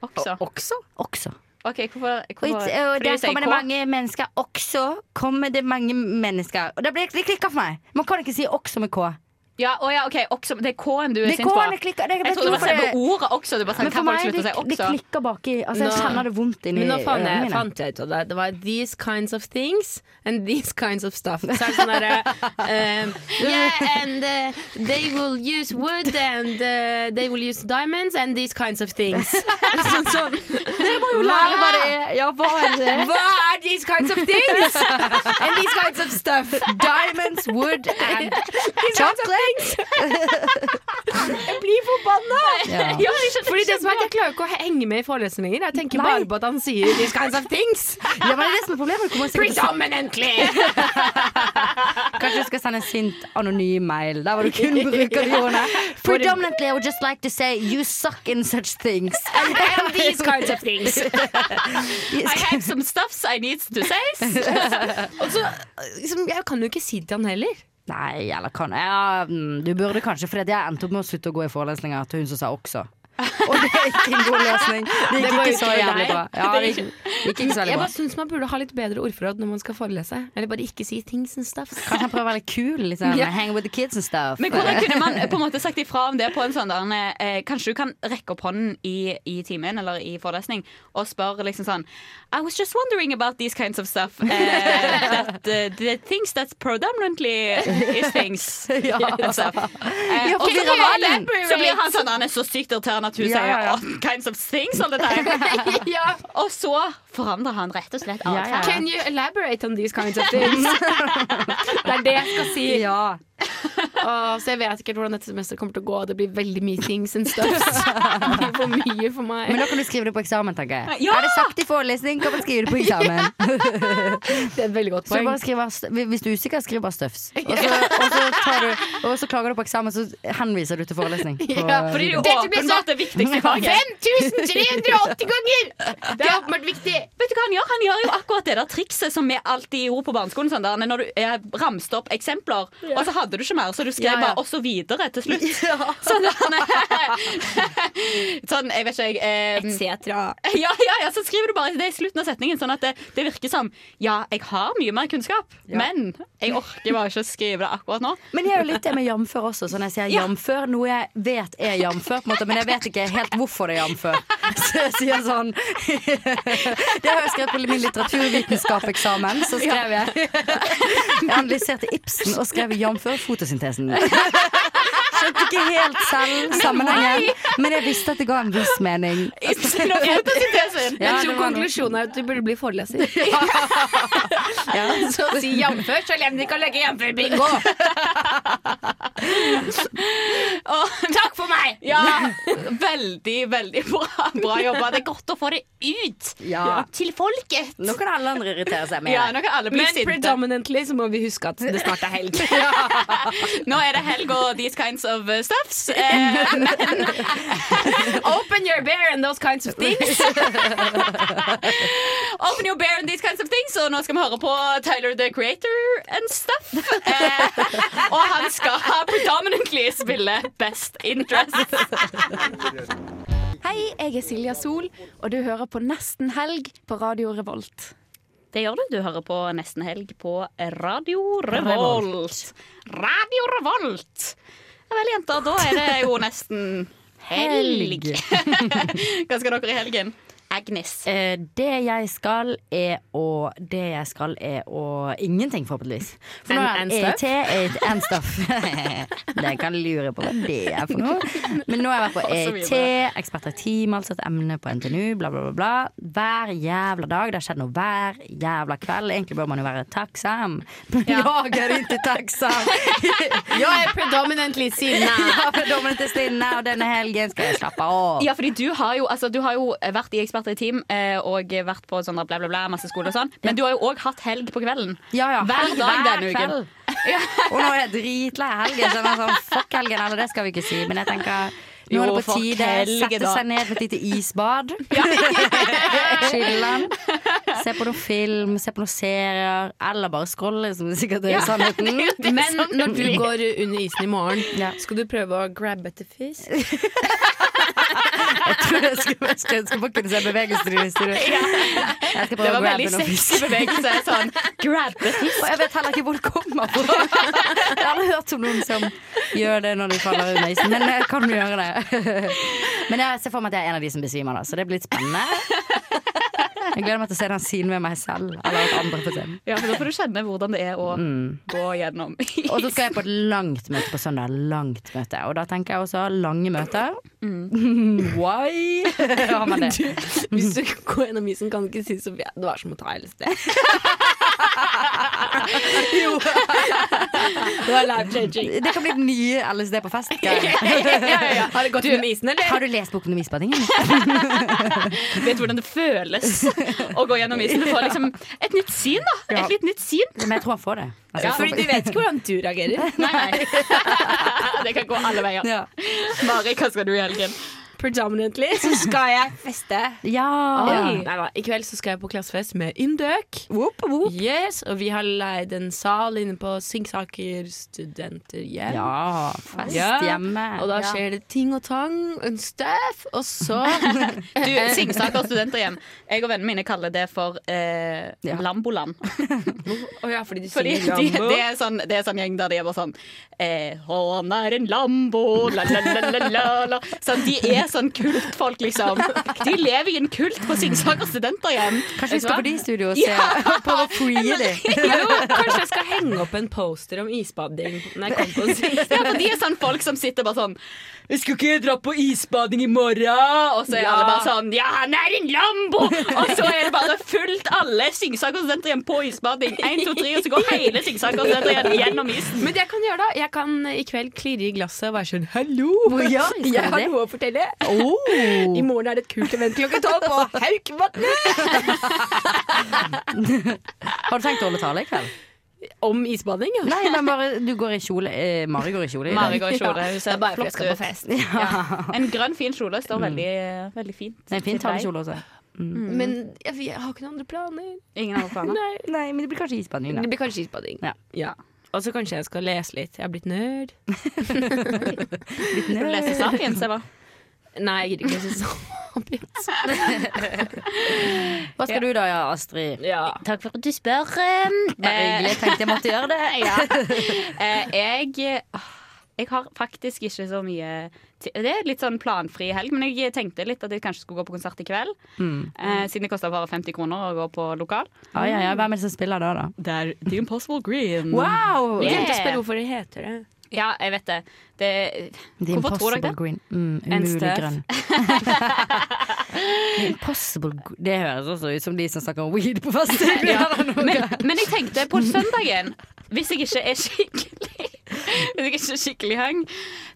I: Også.
H: Også? Også.
I: Ok, hvorfor,
H: Og
I: hvorfor
H: it- og
I: fordi
H: der
I: du sier
H: kommer
I: K?
H: det mange mennesker. Også kommer det mange mennesker. Og da blir det klikka for meg. Man kan ikke si også med K.
I: Ja, å ja, ok, også, det er K-en du er
H: Det er
I: sint på.
H: K-en jeg klikker- det- jeg
I: jeg
H: vet
I: trodde det
H: ikke
I: var selve
H: hvorfor det-
I: ordet også. Du bare sa,
H: Men for
I: kan folk
H: meg,
I: slutte å
H: det,
I: si
H: det
I: også?
H: klikker baki. Altså, jeg
N: Nå-
H: kjenner det vondt inni
N: Men nå
H: ørene
N: fant jeg,
H: mine.
N: fant jeg ut av det. Det var 'these kinds of things and these kinds of stuff'. Så er det sånn derre ehm, Yeah, and eh, they will use wood and eh, they will use diamonds and these kinds of things. Sånn sånn. Dere må
H: jo lære hva det er. Ja, hva er det?
N: Hva er these kinds of things? And these kinds of stuff.
H: Diamonds, wood and
N: These
T: Jeg blir forbanna!
B: Ja.
T: Fordi det som er at Jeg klarer ikke å henge med i forelesningen lenger. Jeg tenker bare på at han sier these kinds of things.
H: Ja, men det er det som er problemet. Du kommer sikkert til å-
T: Predominantly!
H: Kanskje du skal sende en sint anonym mail der hvor du kun bruker de ordene. Predominantly I would just like to say you suck in such things.
I: And- and these kinds of things.
H: Yes.
I: I have some stuffs I need to say.
N: Og så, liksom, jeg kan jo ikke si det til han heller.
H: Nei, eller kan ja, mm, Du burde kanskje, for jeg endte opp med å slutte å gå i forelesninger til hun som sa også. Og det er ikke en god løsning. Det gikk
T: går
H: ikke så
T: utover
H: jævlig
T: deg.
H: bra. Ja, det
T: Det
H: gikk,
T: gikk-
H: gikk ikke så jævlig
N: Jeg
H: bra.
N: bare syns man burde ha litt bedre ordforråd når man skal forelese. Eller bare ikke si things and stuff.
H: Kanskje han prøver å være litt kul? Liksom.
I: Ja.
H: Hang with the kids and stuff.
I: Men hvordan kunne man på en måte sagt ifra om det på en sånn der, eh, Kanskje du kan rekke opp hånden i, i timen eller i forelesning og spørre liksom sånn I was just wondering about these kinds of stuff. eh, that, eh, the things that predominantly is things.
H: Ja.
I: and stuff." Eh,
H: Ja,
I: og så
H: forvirre
I: blir han-
H: verden.
I: Så blir han sånn Han er så sykt irriterende at hun
H: Ja, ja, ja.
I: sier all kinds of things all the time. Og så forandrer han rett og slett atferd.
T: Can you elaborate on these kinds of things? det er det jeg skal si.
N: Åh, så jeg vet ikke helt hvordan dette semesteret kommer til å gå. Det blir veldig mye things and stuffs. Det blir for mye for meg.
H: Men da kan du skrive det på eksamen, tenker jeg.
N: Ja!
H: Er det sagt i forelesning, kan man skrive det på eksamen.
N: Det er et veldig godt
H: Så
N: poeng.
H: bare skriver, hvis du er usikker, skriv bare støfs. Og så, og, så tar du, og så klager du på eksamen, så henviser du til forelesning. På
T: Ja, fordi det er jo
H: video.
T: åpenbart det viktigste faget.
I: 5380 ganger!
T: Det er åpenbart viktig.
I: Vet du hva Han gjør Han gjør jo akkurat det der trikset som vi alltid gjorde på barneskolen. Sånn der, når du eh, ramste opp eksempler, og så hadde du ikke mer, så du skrev
T: Ja, ja.
I: bare 'og så videre' til slutt. Sånn, sånn, jeg vet ikke, jeg eh, ja, ja, ja, så skriver du bare det i slutten av setningen, sånn at det, det virker som Ja, jeg har mye mer kunnskap, men jeg orker bare ikke å skrive det akkurat nå.
H: Men jeg er jo litt det med jamfør også, så når jeg sier
I: Ja.
H: jamfør, noe jeg vet er jamfør, på en måte, men jeg vet ikke helt hvorfor det er jamfør. Så jeg sier sånn Det har jeg skrevet på min litteraturvitenskapeksamen, så skrev jeg Jeg analyserte Ibsen og skrev jamfør fotosyntesen. Skjønte ikke helt selv sammenhengen, men jeg visste at det ga en viss mening.
T: Ibsen og fotosyntesen.
H: Ja,
N: Jeg
H: det
N: tror
H: var noe.
N: konklusjonen er at du burde bli foreleser.
H: Ja.
T: Så si jamfør, så lem dere og legge jamfør bingo.
I: Takk for meg! Ja, veldig, veldig bra, bra jobba. Det er godt å få det ut
H: Ja.
I: til folket.
H: Nå kan alle andre irritere seg med
I: Ja,
H: det.
I: nå kan alle bli
N: Men
I: sinte.
N: predominantly så må vi huske at det snart er helg.
I: Nå er det helg og these kinds of uh, stuffs. Eh, men
T: Open your bear and those kinds of things.
I: open your bear and these kinds of things, og nå skal vi høre på Tyler the Creator and stuff. Eh, og han skal predominantly spille Best Interest.
G: Hei, jeg er Silja Sol, og du hører på Nesten helg på Radio Revolt.
I: Det gjør du. Du hører på Nesten Helg på Radio Revolt.
G: Revolt.
I: Radio Revolt! Ja vel, jenter, da er det jo nesten helg. Hva skal dere i helgen? Agnes.
H: Eh, det jeg skal er å Det jeg skal er å Ingenting, forhåpentligvis. For nå
T: And- and
H: er ET ET and stuff. det kan lure på hva det er for noe. Men nå har jeg vært på
T: Og så
H: ET, eksperter i team, altså et emne på NTNU, bla, bla, bla, bla. Hver jævla dag. Det har skjedd noe hver jævla kveld. Egentlig bør man jo være takksam. Men jeg er ikke takksam.
T: Jeg er predominantly sinna.
H: Ja, for dommen til Stinne, og denne helgen skal jeg slappe av.
I: Ja, fordi du har jo, altså, du har jo vært i Eksperter i team eh, og vært på sånn der bla, bla, bla, masse skole og sånn, men du har jo òg hatt helg på kvelden. Hver dag denne uken.
H: kveld. Og nå er jeg dritlei helgen. Så jeg er sånn, fuck helgen, eller det skal vi ikke si. Men jeg tenker nå er
I: Jo,
H: det på
I: fuck
H: tide.
I: helgen,
H: Sette
I: da.
H: seg ned med et lite isbad. Chiller'n. Se på noen film, se på noen serier. Eller bare scrolle, som det sikkert er
N: Ja,
H: sannheten.
N: det er jo det Men som når du blir. går
H: under isen i morgen,
N: Skal du prøve å grabbe etter fisk?
H: Jeg tror jeg skal, jeg skal, jeg skal bare kunne se bevegelser i studio. Jeg skal
I: Det
H: prøve å
I: var
H: grabbe
I: veldig
H: noen
I: sexy
H: fisk.
I: bevegelse. Sånn grabbe
H: Og jeg vet heller ikke hvor det kommer fra. Jeg har aldri hørt om noen som gjør det når de faller under isen, men jeg kan jo gjøre det. Men jeg ser for meg at jeg er en av de som besvimer, da, så det blir litt spennende. Jeg gleder meg til å se den siden med meg selv, eller at andre får se den.
I: Ja, for da får du kjenne hvordan det er å
H: Mm.
I: gå gjennom
H: Og så skal jeg på et langt møte på søndag. Langt møte. Og da tenker jeg også lange møter.
I: Mm.
H: Why har man det?
N: Du, hvis du går gjennom isen, kan du ikke si Sofie Det var som å ta LSD.
H: jo. Det var life-changing. Det kan bli den nye LSD på fest. Geir.
I: Ja, ja, ja. Har det gått under isen, eller?
H: Har du lest boken om isbadingen?
I: Vet hvordan det føles å gå gjennom isen. Du får liksom et nytt syn, da. Et litt nytt syn.
H: Men jeg tror han får det. Altså,
I: Ja,
H: jeg tror-
I: fordi du vet ikke hvordan du reagerer. Nei, nei. Det kan gå alle veier. Mari, hva skal du i helgen?
N: Predominantly så skal jeg feste.
I: Oi.
N: Nei da. I kveld så skal jeg på klassefest med Indøk. Yes, og vi har leid en sal inne på Singsaker studenterhjem.
H: Ja, fest hjemme.
N: Og da
H: Ja.
N: skjer det ting og tang and stuff. Og så
I: Du, Singsaker studenterhjem. Jeg og vennene mine kaller det for eh, Lamboland.
N: Å ja, fordi de
I: Fordi
N: synger
I: de,
N: Lambo.
I: det, er sånn, det er sånn gjeng der de er bare sånn eh, Han er en lambo, la la la la la la sånn, De er sånn kultfolk, liksom. De lever i en kult på Singsaker studenterhjem. Vet
H: Kanskje vi
I: du
H: skal
I: hva?
H: på de i studio og se
I: Ja.
H: på å freeze de.
N: jo, kanskje jeg skal henge opp en poster om isbading når jeg kommer på Singsaker.
I: Ja, for de er sånn folk som sitter bare sånn 'Jeg skal ikke dra på isbading i morgen.' Og så er alle bare sånn 'Ja, han er en lambo!' Og så er det bare fullt alle Singsaker-studenter igjen på isbading. Én, to, tre, og så går hele Singsaker-studenter igjen gjennom isen.
N: Men det jeg kan gjøre da, jeg kan i kveld klirre i glasset og være sånn Hallo!
I: Ja, skal du
N: jeg har
I: det?
N: noe å fortelle. I morgen er det et kult event klokken tolv på Haukvatnet!
H: Har du tenkt å holde tale i kveld?
N: Om isbading, ja.
H: Nei, men bare, du går i kjole. Eh, Mari går i kjole. i dag.
I: Mari går i kjole. Hun
H: Ja,
I: ser
H: det er bare
I: flott Mm.
H: flott
I: ut.
H: på fest.
I: Ja. En grønn, fin kjole står veldig, veldig fint.
H: Det er en fin talekjole også. Mm.
N: Men jeg, jeg har ikke noen andre planer.
I: Ingen andre planer?
N: Nei.
H: men det blir kanskje isbading.
N: Det blir kanskje isbading.
H: Ja.
N: Og så kanskje jeg skal lese litt. Jeg har blitt nerd.
I: Skal du lese Sapiens, eller?
N: Nei, jeg gidder ikke sånn. lese Sapiens.
H: Hva skal du da, ja, Astrid? Takk for at du spør. Bare
I: Eh,
H: hyggelig. Tenkte jeg måtte gjøre det.
I: ja. Eh, jeg ah, Jeg har faktisk ikke så mye ti- Det er litt sånn planfri helg, men jeg tenkte litt at jeg kanskje skulle gå på konsert i kveld.
H: Mm.
I: Eh, siden det koster bare 50 kroner å gå på lokal.
H: Ja, ja, ja. Hvem er det som spiller da, da?
I: Det er The Impossible Green.
H: Mm. Wow!
I: Yeah.
N: Glemte å spørre hvorfor det heter det.
I: Ja, jeg vet det. det
H: The
I: hvorfor tror dere
H: Impossible
I: det?
H: Green. Mm,
I: En
H: umulig
I: støv.
H: grønn. The Impossible Green Det høres også ut som de som snakker om weed på fest.
I: Ja. Men, men jeg tenkte på søndagen Hvis jeg ikke er skikkelig Hvis jeg ikke er skikkelig hang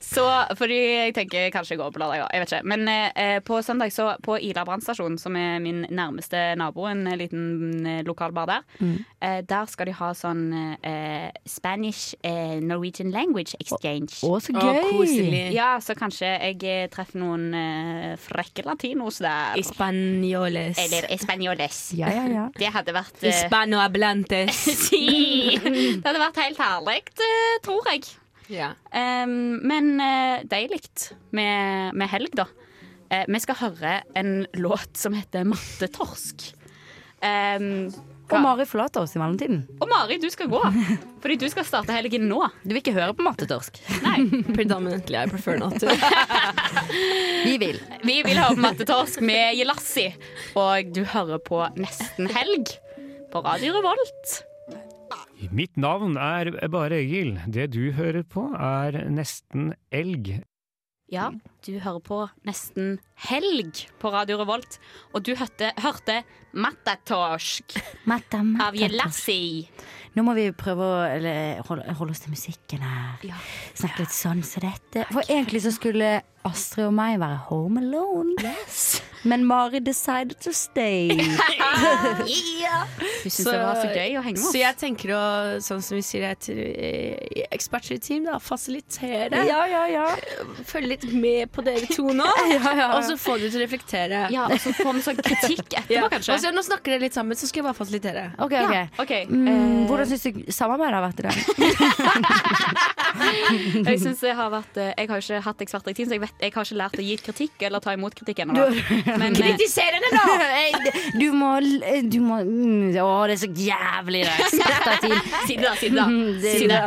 I: Så, fordi jeg tenker kanskje jeg går på lørdag også, Jeg vet ikke Men eh, på søndag så på Ila brannstasjon Som er min nærmeste nabo En liten eh, lokal bar der
H: Mm.
I: eh, Der skal de ha sånn eh, Spanish eh, Norwegian language exchange
H: Å, så Å, gøy! koselig.
I: Ja, så kanskje jeg eh, treffer noen eh, frekke latinos der
N: Spanjoles.
I: Eller espanjoles
N: Ja, ja, ja.
I: Det hadde vært eh,
N: Hispanoablantes.
I: Si. Det hadde vært helt herlig, eh, tror jeg.
N: Ja.
I: Em, men eh, deilig med, med helg, da. Eh, vi skal høre en låt som heter 'Mattetorsk'. Em,
H: Og Mari forlater oss i mellomtiden.
I: og Mari, du skal gå. Fordi du skal starte helgen nå.
H: Du vil ikke høre på mattetorsk?
N: Predominantly I prefer not to.
H: Vi vil.
I: Vi vil høre på Mattetorsk med Jelassi. Og du hører på Nesten helg på Radio Revolt.
C: Mitt navn er bare Egil. Det du hører på er nesten elg.
I: Ja, du hører på Nesten Helg på Radio Revolt, og du hørte, hørte Matatorsk av Jelassi.
H: Nå må vi prøve å eller, holde, holde oss til musikken her. Snakke litt sånn som dette. For egentlig så skulle Astrid og meg være home alone. Men Mari decided to stay.
I: Ah, Hun syntes det var så gøy å henge med oss.
N: Så jeg tenker å, sånn som vi sier det til eh, eksperter i team, da, fasilitere.
I: Ja,
N: Følge litt med på dere to nå,
I: Ja, ja, ja.
N: og så få dere til å reflektere.
I: Ja, og så får vi sånn kritikk etterpå,
N: Ja.
I: kanskje.
N: Og så Nå snakker dere litt sammen, så skal jeg bare fasilitere.
H: Ok, ok.
N: Ja,
I: ok. Eh.
H: Mm, hvordan syns du samarbeidet har vært i dag?
I: Jeg, synes det har vært, eh, jeg har jo ikke hatt eksperter i team, så jeg, vet, jeg har ikke lært å gi kritikk eller ta imot kritikk ennå. da. Men, eh,
N: Kritiser henne nå!
H: Hey, Du må, l- eh, du må mm, Å, det er så jævlig det.
I: eh,
H: Eksperter i team.
I: Si det, da, si det da.
H: Mm, det-
I: Si det.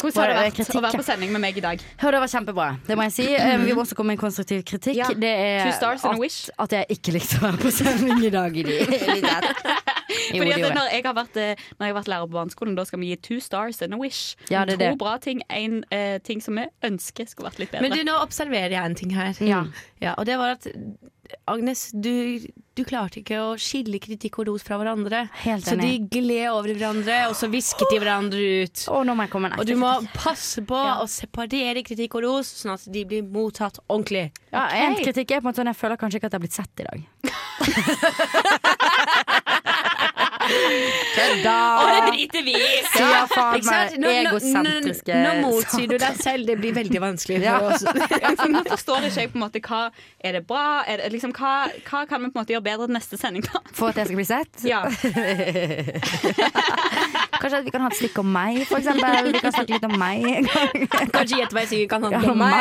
I: Hvordan har det
H: Bare
I: vært å
H: kritikk,
I: være
H: ja.
I: på sending med meg i dag?
H: Ja, det var kjempebra. Det må jeg si. Eh, Vi må også komme med konstruktiv kritikk.
I: Ja.
H: Det er
I: Two stars and a
H: at, at jeg ikke likte å være på sending i dag. I det hele tatt. Jo,
I: Fordi
H: det gjorde
I: at
H: jeg.
I: når jeg har vært, eh, når jeg har vært lærer på barneskolen, da skal vi gi two stars and a wish.
H: Ja, det er
I: to
H: det.
I: bra ting, en eh, ting som vi ønsker skulle vært litt bedre.
N: Men du, nå observerer jeg en ting her. Ja, og det var at Agnes, du, du klarte ikke å skille kritikk og ros fra hverandre.
H: Helt
N: så de
H: enig.
N: gled over i hverandre, og så visket de hverandre ut. og du må passe på
H: Ja.
N: å separere kritikk og ros, sånn at de blir mottatt ordentlig.
H: Ja, En kritikk er på en måte sånn jeg føler kanskje ikke at jeg har blitt sett i dag. Kødda!
I: Og det driter vi i!
H: Sier faen
N: Ikke sant?
H: meg
N: Nå- nå-
H: egosentriske
N: Nå, nå motsier du deg selv, det blir veldig vanskelig
I: Ja.
N: for oss.
I: Ja, for nå forstår ikke jeg på en måte hva er det bra er det, liksom, hva, hva kan vi på en måte gjøre bedre til neste sending, da?
H: For at jeg skal bli sett?
I: Ja.
H: Kanskje at vi kan ha et stikk om meg, for eksempel. Vi kan snakke litt om meg en gang.
N: Kanskje gjett hva jeg sier kan handle
H: Ja,
N: om meg.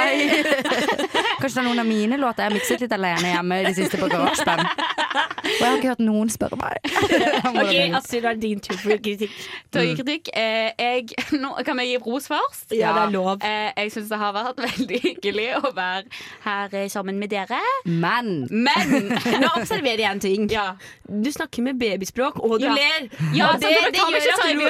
H: Kanskje det er noen av mine låter. Jeg har mikset litt alene hjemme i det siste på GarageBand. Og jeg har ikke hørt noen spørre meg.
I: Ok,
N: Astrid, det er din tur for kritikk.
I: Til å gi kritikk. Eh, jeg, nå kan vi gi ros først.
N: Ja, det er lov.
I: Eh, jeg syns det har vært veldig hyggelig å være her eh, sammen med dere.
H: Men
I: Men
N: nå observerer jeg en ting. Du snakker med babyspråk, og du
I: Ja.
N: ler. Altså,
I: Ja,
N: Og det,
I: sant, for vi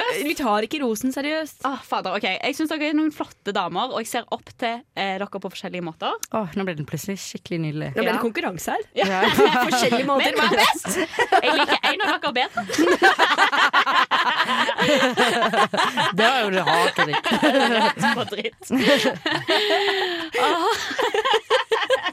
I: Altså, tar det ikke seriøst.
N: det gjør at ro- vi tar ikke rosen seriøst.
I: Åh, fader, ok Jeg syns dere er noen flotte damer, og jeg ser opp til eh, dere på forskjellige måter.
H: Åh, nå ble den plutselig skikkelig nydelig.
N: Nå ble det konkurranse her.
H: Ja.
N: Forskjellige måter.
I: Men hva er best? Jeg liker en av dere bedre.
H: Det var jo det harde ditt.
I: Rett på dritt. Ah. Åh.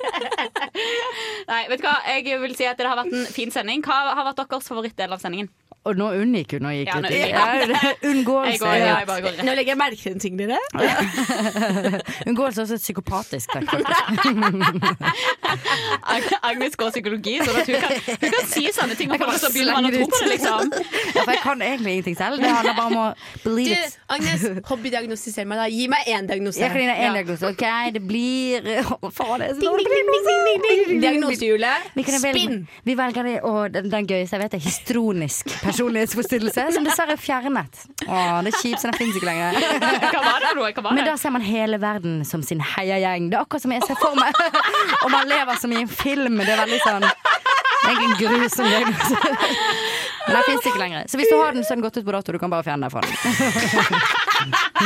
I: Nei, vet du hva? Jeg vil si at det har vært en fin sending. Hva har vært deres favorittdel av sendingen?
H: Og nå unngikk hun å gi
I: Ja, nå unngikk
H: kritikk.
I: jeg.
H: Ja, det-
I: Jeg
H: Unngåelse.
I: går- ja, jeg bare går rett.
N: Nå legger jeg merke til en ting, dere.
H: Unngåelse er også et psykopatisk trekk. faktisk.
I: Ag- Agnes går psykologi, så at hun, kan, hun kan si sånne ting. Og
H: Jeg kan
I: folk
H: bare
I: så begynner man å
H: slenge
I: tro
H: det
I: på det,
H: ut.
I: liksom.
H: Ja, for jeg kan egentlig ingenting selv. Det handler bare om å
N: Du,
H: believe it.
N: Agnes, hobbydiagnostiser meg, da. Gi meg én diagnose.
H: Jeg kan gi deg én
N: Ja.
H: diagnose. OK, det blir Å, faen, det er så
N: Ding, ding, ding, ding, ding, ding, ding. Diagnosehjulet.
H: Vi, kan velge,
N: Spinn.
H: vi velger det, og den, den gøyeste jeg vet, er histronisk personlighetsforstyrrelse, som dessverre er fjernet. Å, det er kjipt, så den fins ikke lenger.
I: Hva var det, Roar? Hva var
H: Men da
I: det?
H: ser man hele verden som sin heiagjeng. Det er akkurat som jeg ser for meg. Og man lever som i en film. Det er veldig sånn Det er en grusom diagnose. Men den fins ikke lenger. Så hvis du har den, så er den gått ut på dato. Du kan bare fjerne den fra den.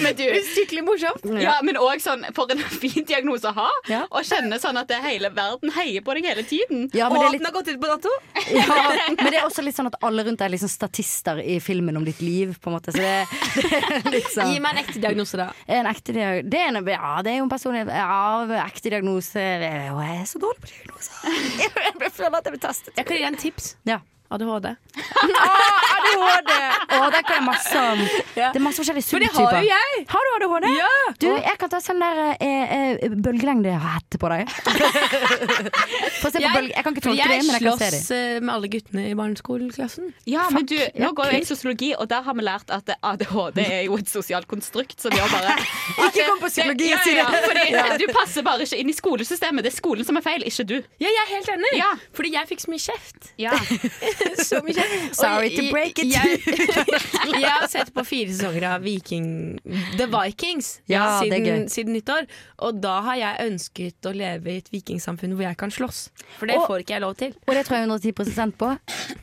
I: Men du,
N: Skikkelig morsomt.
I: ja, men òg sånn for en fin diagnose å ha. Å kjenne sånn at det hele verden heier på deg hele tiden.
H: Ja, men det er litt-
N: Den har gått ut på dato.
H: Ja, men det er også litt sånn at alle rundt deg er liksom statister i filmen om ditt liv, på en måte. Så det, det er litt sånn
N: Gi meg en ekte diagnose, da.
H: En ekte diag- det, er en, ja, det er jo en personlig ja, ekte diagnose. Og jeg er så dårlig på diagnoser. Jeg føler at jeg blir testet.
N: Jeg kan gi deg en tips.
H: Ja. Ah,
N: ADHD.
H: ADHD! Å, der kan jeg masse om. Det er masse forskjellige
N: For det
H: subtyper.
N: har jo jeg.
H: Har du ADHD?
N: Ja.
H: Du, jeg kan ta sånn der eh, eh, bølgelengdehette på deg. Få se på bølge. Jeg kan ikke tolke det, men jeg kan se
N: Jeg
H: det.
N: slåss eh, med alle guttene i barneskoleklassen.
I: Ja, men du, Nå
N: ja,
I: går jo jeg
N: kult.
I: sosiologi, og der har vi lært at ADHD er jo et sosialt konstrukt. Så vi har bare
N: Ikke kom på psykologi
I: ja,
N: og si
I: ja,
N: det. Ja.
I: Fordi Du passer bare ikke inn i skolesystemet. Det er skolen som er feil, ikke du.
N: Ja, jeg er helt enig.
I: Ja.
N: Fordi jeg fikk så mye kjeft.
I: Ja.
N: så mye kjeft. Og
H: Sorry
N: jeg-
H: to break it.
N: Jeg, jeg har sett på fire sesonger av Viking The Vikings
H: Ja, det er
N: siden,
H: gøy.
N: siden nyttår. Og da har jeg ønsket å leve i et vikingsamfunn hvor jeg kan slåss. For det
H: Og-
N: får ikke jeg lov til.
H: Og det tror jeg 110 på.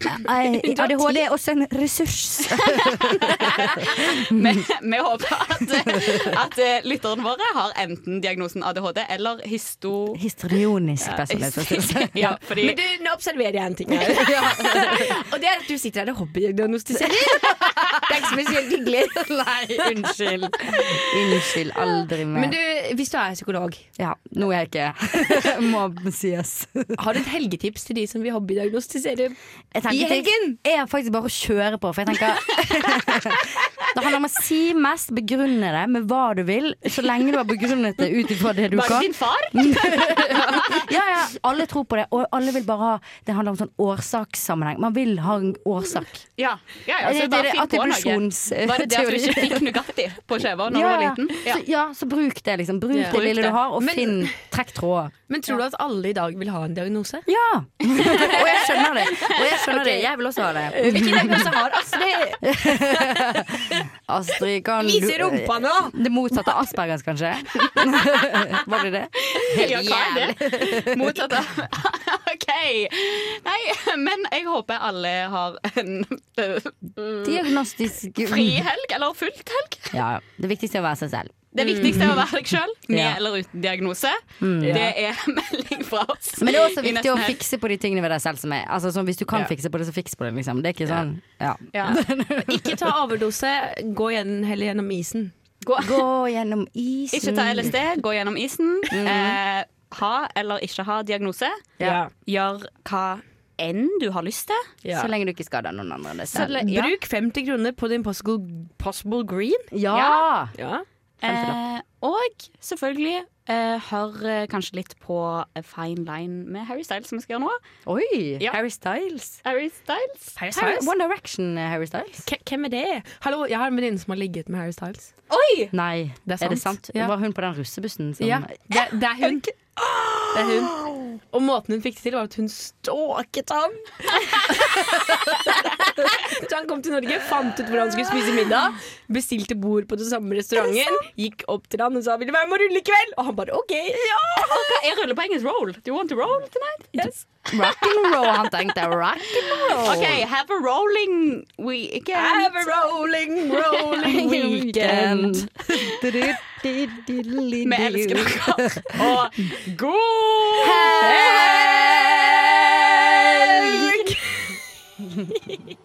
H: Eh, ADHD er også en ressurs.
I: Vi, vi håper at, at eh, lytterne våre har enten diagnosen ADHD eller histo...
H: Histrionisk personlighetsforstyrrelse.
I: Ja, fordi
N: Men du, nå observerer jeg en ting her. og det er at du sitter her og hobbydiagnostiserer. det er ikke spesielt hyggelig.
H: Nei, unnskyld. Unnskyld, aldri mer.
N: Men du, hvis du er psykolog,
H: Ja, noe jeg ikke må sies.
N: har du et helgetips til de som vil hobbydiagnostisere i
H: tenker
N: helgen?
H: Det er faktisk bare å kjøre på, for jeg tenker Det handler om å si mest, begrunne det med hva du vil, så lenge du har begrunnet det ut ifra det du
I: Bare
H: kan.
I: din far?
H: ja, ja. Alle tror på det, og alle vil bare ha Det handler om sånn årsakssammenheng. Man vil ha en årsak.
I: Ja, ja, ja
H: Det-
N: Eh,
I: så
H: det-
I: bare
H: det-
I: finn på noe.
H: attribusjonsteori.
I: Var det det at du ikke fikk Nugatti på skjeva når du var liten?
H: Så, ja, så bruk det, liksom. Bruk
N: Ja.
H: det
N: Bruk
H: lille
N: det.
H: du har, og
N: Men-
H: finn Trekk tråder.
N: Men tror du at alle i dag vil ha en diagnose?
H: Ja! og jeg skjønner det. Og jeg skjønner det. Jeg vil også ha det.
N: Hvilken diagnose har Astrid?
H: Astrid kan
N: Vis i
H: du-
N: rumpa nå!
H: Det motsatte av Aspergers, kanskje? Var det det?
I: Ja, hva er det? Mottatt av OK. Nei, men jeg håper alle har en eh,
H: Diagnostisk
I: fri helg, eller fullt helg.
H: Ja, det viktigste er å være seg selv.
N: Mm.
I: Det viktigste er å være deg sjøl, med
H: Ja.
I: eller uten diagnose.
H: Mm.
I: Det er melding fra oss.
H: Men det er også
I: i
H: viktig å
I: Nesten Helg.
H: fikse på de tingene ved deg selv som er Altså sånn, Hvis du kan
I: Ja.
H: fikse på det, så fiks på det, liksom. Det er ikke sånn Ja.
N: Ja. Ikke ta overdose, gå gjennom, heller gjennom isen.
H: Gå, gjennom isen.
I: Ikke ta LSD, gå gjennom isen.
N: Mhm.
I: Eh, ha eller ikke ha diagnose.
H: Ja.
I: Gjør hva enn du har lyst til.
H: Ja. Så lenge du ikke skader noen andre. Det er
N: Så,
H: sant.
N: le- Bruk 50 kroner på The Impossible Possible Green.
H: Ja.
N: Ja.
I: Eh, og selvfølgelig eh, hør eh, kanskje litt på eh, Fine Line med Harry Styles, som vi skal gjøre nå.
H: Oi!
I: Ja.
H: Harry Styles.
I: Harry Styles.
H: Harry, One Direction, eh, Harry Styles.
N: K- Hvem er det? Hallo, jeg har en venninne som har ligget med Harry Styles.
I: Oi!
H: Nei,
N: Det er
H: er det
N: sant.
H: sant?
N: Ja.
H: Var hun på den russebussen som
N: Ja, det, det er hun. Det er hun. Og måten hun fikk det til, var at hun stalket ham. Så han kom til Norge, fant ut hvor han skulle spise middag, bestilte bord på den samme restauranten, gikk opp til han og sa 'vil du være med og rulle i kveld?' Og han bare 'OK'. Ja!
I: Og hva er rullepoenget? Roll. Do you want to roll tonight? Yes.
H: Rock'n'roll, han tenkte rock'n'roll.
I: OK, have a rolling weekend.
N: Have a rolling, rolling weekend.
I: Vi elsker dere. Og god helg!